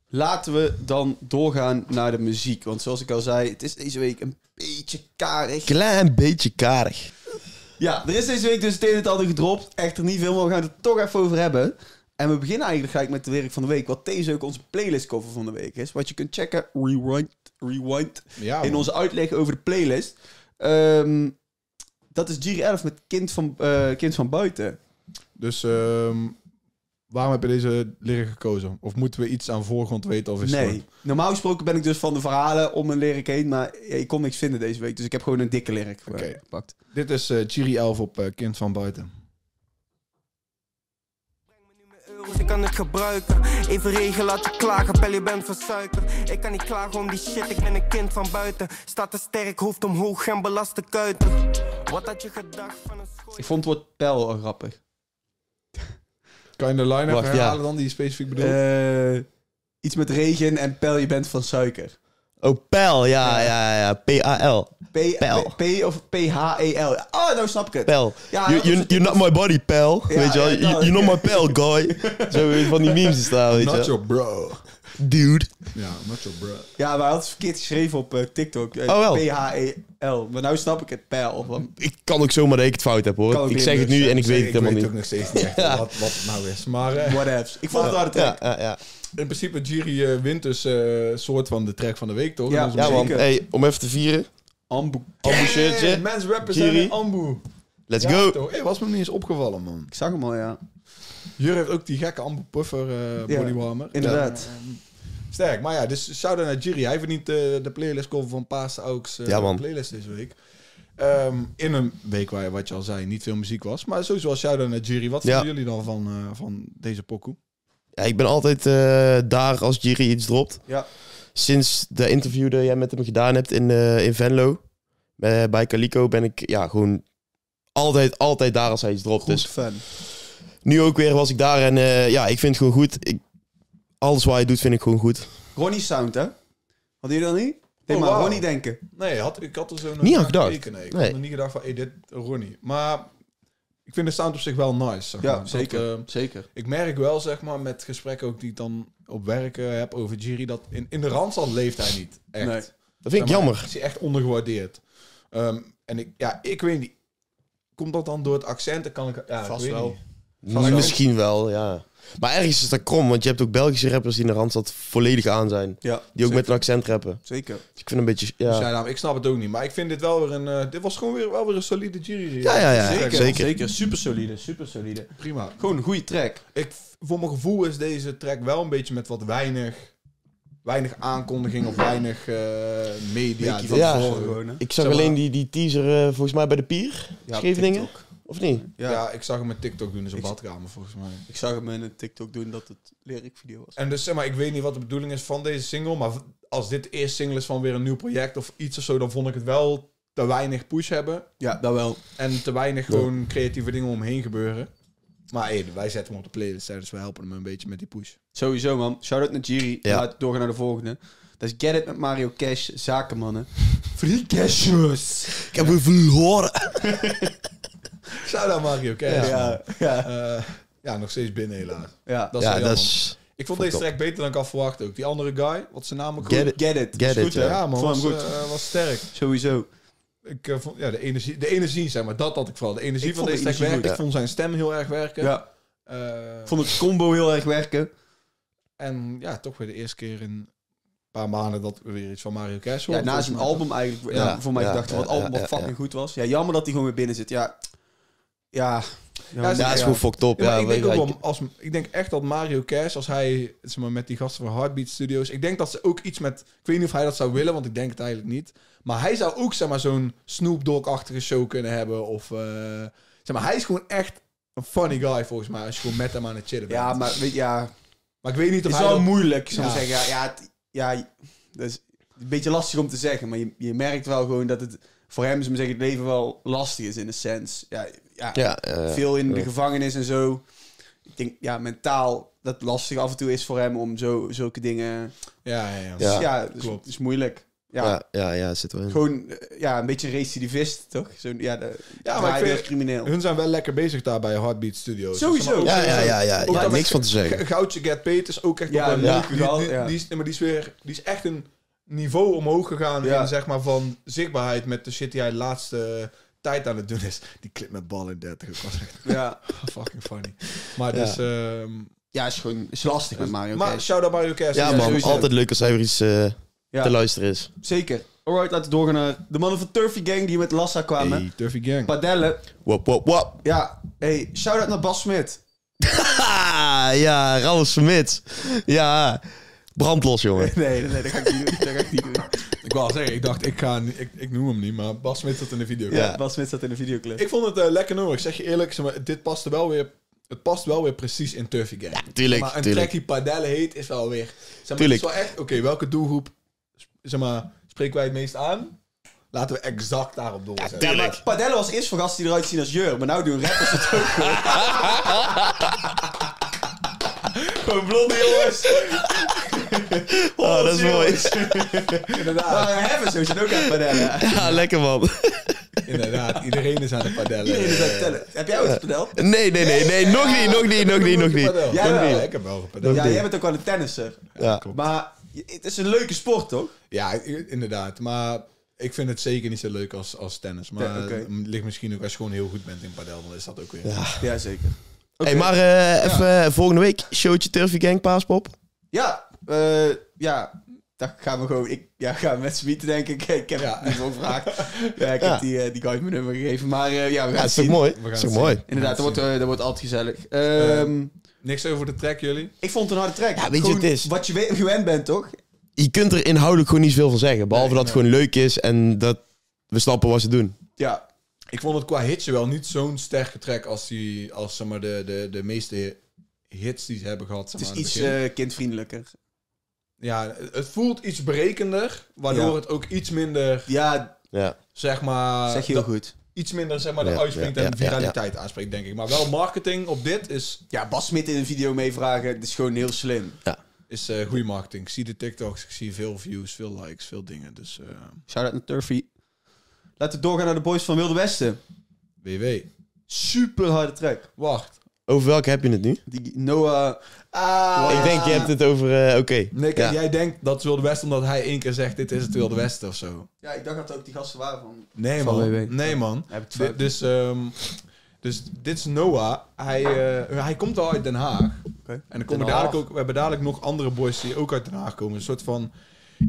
Speaker 2: laten we dan doorgaan naar de muziek. Want zoals ik al zei, het is deze week een beetje karig.
Speaker 3: Klein beetje karig.
Speaker 2: Ja, er is deze week dus het een en het ander gedropt. Echter niet veel, maar we gaan het er toch even over hebben. En we beginnen eigenlijk gelijk met de werk van de week. Wat deze ook onze playlist cover van de week is. Wat je kunt checken, rewind, rewind
Speaker 1: Ja,
Speaker 2: in
Speaker 1: man.
Speaker 2: onze uitleg over de playlist. Ehm, dat is Giri 11 met kind van, eh, kind van Buiten.
Speaker 1: Dus ehm, waarom heb je deze leren gekozen? Of moeten we iets aan voorgrond weten? Of is het
Speaker 2: Nee,
Speaker 1: gewoon-
Speaker 2: normaal gesproken ben ik dus van de verhalen om een lyric heen. Maar ik kon niks vinden deze week. Dus ik heb gewoon een dikke lyric eh,
Speaker 1: Oké.
Speaker 2: gepakt.
Speaker 1: Dit is eh Chiri 11 op eh, Kind van Buiten.
Speaker 4: euro's, ik kan het gebruiken. Even regen laten klagen, bel je bent van suiker. Ik kan niet klagen om die shit, ik ben een kind van buiten. Staat te sterk, hoofd omhoog en belaste kuiten. Wat had je gedacht van een school?
Speaker 2: Ik vond het woord pijl wel grappig.
Speaker 1: Kan je de line-up
Speaker 3: Wacht,
Speaker 1: herhalen
Speaker 3: ja.
Speaker 1: dan, die je specifiek bedoelt?
Speaker 2: Eh, iets met regen en pijl, je bent van suiker.
Speaker 3: Oh, Pel, ja, ja, ja. P-A-L.
Speaker 2: P,
Speaker 3: Pel.
Speaker 2: P, P of P-H-E-L. Oh, nou snap ik het.
Speaker 3: Pel.
Speaker 2: Ja,
Speaker 3: you, you, you're not my body, Pel.
Speaker 2: Ja,
Speaker 3: weet je wel?
Speaker 2: ja,
Speaker 3: you,
Speaker 2: dat-
Speaker 3: you're not my Pel, guy. Zo weer van die memes te staan, weet je
Speaker 1: Not
Speaker 3: wel.
Speaker 1: your bro.
Speaker 3: Dude.
Speaker 1: Ja, not your bro.
Speaker 2: Ja, maar hij had het verkeerd geschreven op eh, TikTok. Eh,
Speaker 3: Oh, wel.
Speaker 2: P-H-E-L. Maar nou snap ik het. Pijl. Want
Speaker 3: Ik kan ook zomaar dat ik het fout heb,
Speaker 2: Kan ook
Speaker 3: hoor. Ik
Speaker 2: niet
Speaker 3: zeg het
Speaker 2: anders
Speaker 3: nu en
Speaker 2: zijn.
Speaker 3: ik weet het helemaal
Speaker 1: Ik weet
Speaker 3: niet.
Speaker 1: ook nog steeds niet echt wat, wat het nou is. Maar eh,
Speaker 2: whatevs. Ik vond het hard.
Speaker 3: Ja, ja, ja.
Speaker 1: in principe, Jiri eh, wint dus eh, soort van de track van de week, toch?
Speaker 2: Ja.
Speaker 1: In onze
Speaker 3: Ja,
Speaker 1: muziek.
Speaker 3: man.
Speaker 2: Zeker.
Speaker 3: Hey, om even te vieren.
Speaker 2: Ambu.
Speaker 3: Ambu shirtje.
Speaker 1: Hey, mens represent
Speaker 3: Jiri.
Speaker 1: Ambu.
Speaker 3: Let's
Speaker 1: Ja,
Speaker 3: go.
Speaker 1: toch? Hey, was me niet eens opgevallen, man.
Speaker 2: Ik zag hem al, ja.
Speaker 1: Jur heeft ook die gekke Ambu Puffer eh,
Speaker 2: Ja,
Speaker 1: bodywarmer.
Speaker 2: Inderdaad.
Speaker 1: Sterk, maar ja, dus shout-out naar Jiri. Hij verdient eh, de playlist cover van Paas Auks eh
Speaker 3: Ja, man.
Speaker 1: playlist deze week. Ehm, in een week waar, wat je al zei, niet veel muziek was. Maar sowieso al shout-out naar Jiri. Wat
Speaker 3: Ja.
Speaker 1: vinden jullie dan van, eh, van deze pokoe?
Speaker 3: Ja, ik ben altijd eh, daar als Jiri iets dropt.
Speaker 2: Ja.
Speaker 3: Sinds de interview dat jij met hem gedaan hebt in, eh, in Venlo, eh, bij Calico, ben ik ja, gewoon altijd, altijd daar als hij iets dropt.
Speaker 2: Goed
Speaker 3: Dus
Speaker 2: fan.
Speaker 3: nu ook weer was ik daar en eh, ja, ik vind het gewoon goed. Ik, alles wat hij doet vind ik gewoon goed.
Speaker 2: Ronnie Sound, hè? Hadden jullie dat niet? Nee,
Speaker 1: Oh,
Speaker 2: maar
Speaker 1: wauw.
Speaker 2: Ronnie denken.
Speaker 1: Nee, had, ik had er zo nog
Speaker 3: Niet aan
Speaker 1: aan
Speaker 3: gedacht.
Speaker 1: gekeken, nee. Ik
Speaker 3: Nee.
Speaker 1: had nog niet gedacht van, hey, dit Ronnie. Maar Ik vind de sound op zich wel nice. Zeg maar.
Speaker 2: Ja,
Speaker 1: Dat,
Speaker 2: zeker.
Speaker 1: eh,
Speaker 2: zeker.
Speaker 1: ik merk wel, zeg maar, met gesprekken ook die ik dan op werk eh, heb over Jiri, dat in, in de randstand leeft hij niet. Echt.
Speaker 2: Nee.
Speaker 3: Dat vind
Speaker 1: Zeg
Speaker 3: ik
Speaker 1: maar,
Speaker 3: jammer.
Speaker 1: Is hij echt ondergewaardeerd. Ehm, en ik, ja, ik weet niet. Komt dat dan door het accent? Dan kan ik, ja, ik
Speaker 2: Vast
Speaker 1: weet
Speaker 2: wel.
Speaker 1: niet.
Speaker 3: Nou, Misschien wel, ja. Maar ergens is dat krom, want je hebt ook Belgische rappers die in de Randstad volledig aan zijn.
Speaker 2: Ja,
Speaker 3: Die ook
Speaker 2: zeker.
Speaker 3: met een accent rappen.
Speaker 2: Zeker.
Speaker 3: Dus ik vind een beetje...
Speaker 1: Dus
Speaker 3: Ja,
Speaker 1: ja, nou, ik snap het ook niet. Maar ik vind dit wel weer een... eh, dit was gewoon weer, wel weer een solide jury.
Speaker 3: ja, ja. ja,
Speaker 2: Zeker.
Speaker 3: zeker.
Speaker 2: Zeker. Super solide. Super solide.
Speaker 1: Prima.
Speaker 2: Gewoon een goede track.
Speaker 1: Ik, voor mijn gevoel is deze track wel een beetje met wat weinig... Weinig aankondiging of weinig eh, media.
Speaker 2: Beetje
Speaker 1: Dat
Speaker 3: ja.
Speaker 1: is wel
Speaker 2: van
Speaker 1: gewoon-
Speaker 2: hè?
Speaker 3: Ik
Speaker 1: Zeg
Speaker 3: zag
Speaker 1: maar-
Speaker 3: alleen die, die teaser eh, volgens mij bij de pier.
Speaker 2: Ja,
Speaker 3: Scheveningen.
Speaker 2: TikTok.
Speaker 3: Of niet?
Speaker 1: ja.
Speaker 2: Ja.
Speaker 1: ik zag hem met TikTok doen in zijn
Speaker 2: Ik-
Speaker 1: badkamer volgens mij.
Speaker 2: Ik zag hem in een TikTok doen dat het lyricvideo was.
Speaker 1: En dus zeg maar, ik weet niet wat de bedoeling is van deze single. Maar v- als dit de eerste single is van weer een nieuw project of iets of zo... dan vond ik het wel te weinig push hebben.
Speaker 2: Ja, dat wel.
Speaker 1: En te weinig gewoon creatieve dingen omheen gebeuren. Maar hey, wij zetten hem op de playlist, hè, dus we helpen hem een beetje met die push.
Speaker 2: Sowieso, man. Shout-out naar Jiri.
Speaker 3: Ja.
Speaker 2: Laten we doorgaan naar de volgende. Dat is Get It met Mario Cash, zakenmannen. Free Cashers.
Speaker 3: Ik heb hem verloren.
Speaker 1: Shout out Mario Kers. Ja. Eh,
Speaker 2: Ja, ja,
Speaker 1: ja, nog steeds binnen helaas.
Speaker 2: ja.
Speaker 1: Dat is wel
Speaker 3: Ja,
Speaker 1: jammer.
Speaker 3: dat is...
Speaker 1: Ik vond deze
Speaker 3: top.
Speaker 1: track beter dan ik had verwacht ook. Die andere guy, wat zijn naam ook
Speaker 3: Get
Speaker 1: goed?
Speaker 3: It.
Speaker 2: Get It.
Speaker 3: Get
Speaker 2: Is goed,
Speaker 3: It,
Speaker 2: hè?
Speaker 3: ja.
Speaker 1: Ja man,
Speaker 2: Vond
Speaker 1: was,
Speaker 2: hem goed.
Speaker 1: eh, was sterk.
Speaker 2: Sowieso.
Speaker 1: Ik eh, vond, ja, de energie, de energie zeg maar, dat had ik vooral. De energie
Speaker 2: Ik
Speaker 1: van
Speaker 2: vond
Speaker 1: deze
Speaker 2: de
Speaker 1: track
Speaker 2: energie
Speaker 1: werken. Ik
Speaker 3: goed,
Speaker 1: vond zijn stem heel erg werken.
Speaker 2: Ja.
Speaker 1: Eh,
Speaker 2: Ik vond het combo heel erg werken.
Speaker 1: En ja, toch weer de eerste keer in een paar maanden dat we weer iets van Mario Kers
Speaker 2: Ja,
Speaker 1: horen.
Speaker 2: na
Speaker 1: volgens
Speaker 2: zijn
Speaker 1: mij.
Speaker 2: album eigenlijk.
Speaker 3: Ja,
Speaker 2: Ja, voor mij
Speaker 3: ja,
Speaker 2: gedacht,
Speaker 3: ja,
Speaker 2: wat album
Speaker 3: ja,
Speaker 2: wat
Speaker 3: ja,
Speaker 2: fucking goed was. Ja, jammer dat hij gewoon weer binnen zit. Ja. Ja.
Speaker 1: Ja,
Speaker 3: Ja, het is
Speaker 1: Ja.
Speaker 3: gewoon fucked up.
Speaker 1: Ja, maar
Speaker 3: Ja,
Speaker 1: ik, denk
Speaker 3: ja,
Speaker 1: ook wel, als, ik denk echt dat Mario Kers, als hij zeg maar, met die gasten van Heartbeat Studios... Ik denk dat ze ook iets met... Ik weet niet of hij dat zou willen, want ik denk het eigenlijk niet. Maar hij zou ook zeg maar, zo'n Snoop Dogg-achtige show kunnen hebben. Of, eh, zeg maar, hij is gewoon echt een funny guy volgens mij. Als je gewoon met hem aan het chillen bent.
Speaker 2: Ja, maar weet je, ja.
Speaker 1: maar ik weet niet
Speaker 2: Het
Speaker 1: of
Speaker 2: is
Speaker 1: hij...
Speaker 2: wel
Speaker 1: dat-
Speaker 2: moeilijk, zou ik
Speaker 1: Ja.
Speaker 2: zeggen. Ja, ja, het- ja, dat is een beetje lastig om te zeggen. Maar je, je merkt wel gewoon dat het voor hem, zou ik zeggen, het leven wel lastig is in de sens. Ja, ja,
Speaker 3: ja, eh,
Speaker 2: veel in de
Speaker 3: ja.
Speaker 2: gevangenis en zo. Ik denk, ja, mentaal dat het lastig af en toe is voor hem om zo, zulke dingen...
Speaker 1: ja, ja, ja.
Speaker 3: Ja.
Speaker 2: Ja, dus,
Speaker 1: klopt.
Speaker 2: Het is moeilijk. Ja,
Speaker 3: ja, ja, ja, zit wel in.
Speaker 2: gewoon eh, ja, een beetje een recidivist, toch? Zo'n ja, de,
Speaker 1: maar
Speaker 2: ja,
Speaker 1: ik
Speaker 2: maar
Speaker 1: vind-
Speaker 2: crimineel.
Speaker 1: Hun zijn wel lekker bezig daar bij Heartbeat Studios.
Speaker 2: Sowieso.
Speaker 1: Zeg maar, ook-
Speaker 3: Ja, ja, ja, ja.
Speaker 1: Ook
Speaker 3: ja
Speaker 1: dat
Speaker 3: niks
Speaker 1: ik-
Speaker 3: van te zeggen.
Speaker 1: G- Goudje Get Peters ook echt
Speaker 2: Ja,
Speaker 1: op een
Speaker 2: ja.
Speaker 1: leuke- die- die-
Speaker 2: Ja.
Speaker 1: Die, is, maar die is weer, die is echt een niveau omhoog gegaan
Speaker 2: Ja.
Speaker 1: in zeg maar van zichtbaarheid met de shit die hij de laatste tijd aan het doen is. Die clip met bal in 30 ook was echt
Speaker 2: Ja,
Speaker 1: fucking funny. Maar
Speaker 3: Ja.
Speaker 1: dus, ehm,
Speaker 2: ja is gewoon is lastig met Mario
Speaker 1: maar
Speaker 2: Kart.
Speaker 1: shout out Mario Kers.
Speaker 3: Ja,
Speaker 2: Ja,
Speaker 3: man.
Speaker 2: sowieso.
Speaker 3: Altijd leuk als hij weer iets eh,
Speaker 2: Ja.
Speaker 3: te luisteren is.
Speaker 2: Zeker. Alright, laten we doorgaan naar de mannen van Turfy Gang die met Lassa kwamen.
Speaker 1: Hey, Turfy Gang.
Speaker 2: Padellen.
Speaker 3: Wop, wop, wop.
Speaker 2: Ja, hey, shout-out naar Bas Smit.
Speaker 3: Ha, ja, Ralf Smit. Ja, brandlos, jongen.
Speaker 2: Nee, nee, nee, dat ga ik niet doen. Dat ga ik niet doen.
Speaker 1: Ik wou al zeggen, ik dacht, ik, ga, niet- ik, ik noem hem niet, maar Bas Smit zat in de video.
Speaker 3: Ja.
Speaker 2: Bas Smit zat in de videoclip.
Speaker 1: Ik vond het eh, lekker nummer. Ik zeg je eerlijk, zeg maar, dit paste wel weer, het past wel weer precies in Turfy Gang.
Speaker 3: Tuurlijk,
Speaker 1: maar een track
Speaker 3: tuurlijk.
Speaker 1: die Padelle heet is wel weer. Zeg maar,
Speaker 3: Tuurlijk.
Speaker 1: Het is wel echt, oké, welke doelgroep zeg maar, spreken wij het meest aan? Laten we exact daarop doorzetten.
Speaker 3: tuurlijk.
Speaker 2: maar Padellen was eerst voor gasten die eruit zien als Jur, maar nou doen rappers het ook gewoon. Gewoon blonde jongens.
Speaker 3: Oh, dat is mooi.
Speaker 1: inderdaad,
Speaker 2: Maar Nou, hebben zo zit ook aan Padellen.
Speaker 3: Ja, lekker, man.
Speaker 1: inderdaad, iedereen is aan de Padelle.
Speaker 2: Iedereen is aan het tellen. Heb jij ook eens padel?
Speaker 3: Nee, nee, nee, nee. Nog niet, nog niet, nog niet, nog niet.
Speaker 1: Ja,
Speaker 2: Nog niet.
Speaker 1: ik heb wel gepadeld.
Speaker 2: Ja,
Speaker 1: Ja,
Speaker 2: jij bent ook wel een tennisser.
Speaker 3: Ja.
Speaker 2: Maar het is een leuke sport, toch?
Speaker 1: ja, inderdaad. Maar ik vind het zeker niet zo leuk als, als tennis. Maar
Speaker 2: Ja, oké.
Speaker 1: het ligt misschien ook als je gewoon heel goed bent in Padel, dan is dat ook weer.
Speaker 2: Jazeker.
Speaker 3: Hey, maar eh, even eh, volgende week showtje Turfy Gang Paaspop.
Speaker 2: Ja, eh, ja. Dat gaan we gewoon. Ik ja, gaan we met Smieten denken. Ik, ik heb
Speaker 1: Ja.
Speaker 2: niet veel vraag. Ja, ik
Speaker 3: Ja.
Speaker 2: heb die, eh, die guy mijn nummer gegeven. Maar eh, ja, we gaan
Speaker 3: Ja, dat
Speaker 2: het
Speaker 3: is toch
Speaker 2: zien.
Speaker 3: mooi?
Speaker 1: gaan
Speaker 3: Dat is toch
Speaker 1: het
Speaker 3: mooi?
Speaker 1: zien.
Speaker 2: Inderdaad, dat wordt, eh, dat wordt altijd gezellig. Ehm,
Speaker 1: Niks over de track, jullie?
Speaker 2: ik vond het een harde track.
Speaker 3: Ja, weet je
Speaker 2: Gewoon
Speaker 3: wat het is?
Speaker 2: Wat je we- gewend bent, toch?
Speaker 3: Je kunt er inhoudelijk gewoon niet zoveel van zeggen. Behalve
Speaker 1: Nee,
Speaker 3: dat het gewoon leuk is en dat we snappen wat ze doen.
Speaker 2: Ja.
Speaker 1: Ik vond het qua hitsje wel niet zo'n sterke track als, die, als zeg maar, de, de, de meeste hits die ze hebben gehad. Zeg
Speaker 2: Het is
Speaker 1: maar, aan het
Speaker 2: iets
Speaker 1: begin.
Speaker 2: eh, kindvriendelijker.
Speaker 1: Ja, het voelt iets berekender, waardoor
Speaker 2: Ja.
Speaker 1: het ook iets minder,
Speaker 2: Ja,
Speaker 3: Ja,
Speaker 1: zeg maar...
Speaker 2: zeg je heel
Speaker 1: dat-
Speaker 2: goed.
Speaker 1: Iets minder, zeg maar,
Speaker 3: Ja,
Speaker 1: de uitspringt
Speaker 3: ja,
Speaker 1: en
Speaker 3: ja,
Speaker 1: viraliteit aanspreekt, denk ik. Maar wel marketing op dit is,
Speaker 2: Ja, Bas Smit in een video meevragen, dat is gewoon heel slim.
Speaker 1: is eh goede marketing. Ik zie de TikToks, ik zie veel views, veel likes, veel dingen. Dus eh
Speaker 2: Shout-out naar Turfy. Laten we doorgaan naar de boys van Wilde Westen.
Speaker 1: WW.
Speaker 2: Super harde track.
Speaker 1: Wacht.
Speaker 3: Over welke heb je het nu?
Speaker 2: Die Noah...
Speaker 1: Ah,
Speaker 3: Ik denk, je hebt het over... eh, Oké.
Speaker 1: Nick,
Speaker 3: Ja.
Speaker 1: jij denkt dat het Wilde Westen omdat hij één keer zegt: Dit is het Wilde Westen of zo.
Speaker 2: Ja, ik dacht dat ook die gasten waren van...
Speaker 1: Nee,
Speaker 2: Van
Speaker 1: man.
Speaker 2: WW.
Speaker 1: Nee, man.
Speaker 2: Heb ik het
Speaker 1: Di-
Speaker 2: fout.
Speaker 1: dus, ehm, dus dit is Noah. Hij, eh, hij komt al uit Den Haag.
Speaker 2: Oké.
Speaker 1: En dan komen
Speaker 2: Den
Speaker 1: we dadelijk
Speaker 2: Haag.
Speaker 1: ook, we hebben dadelijk nog andere boys die ook uit Den Haag komen. Een soort van.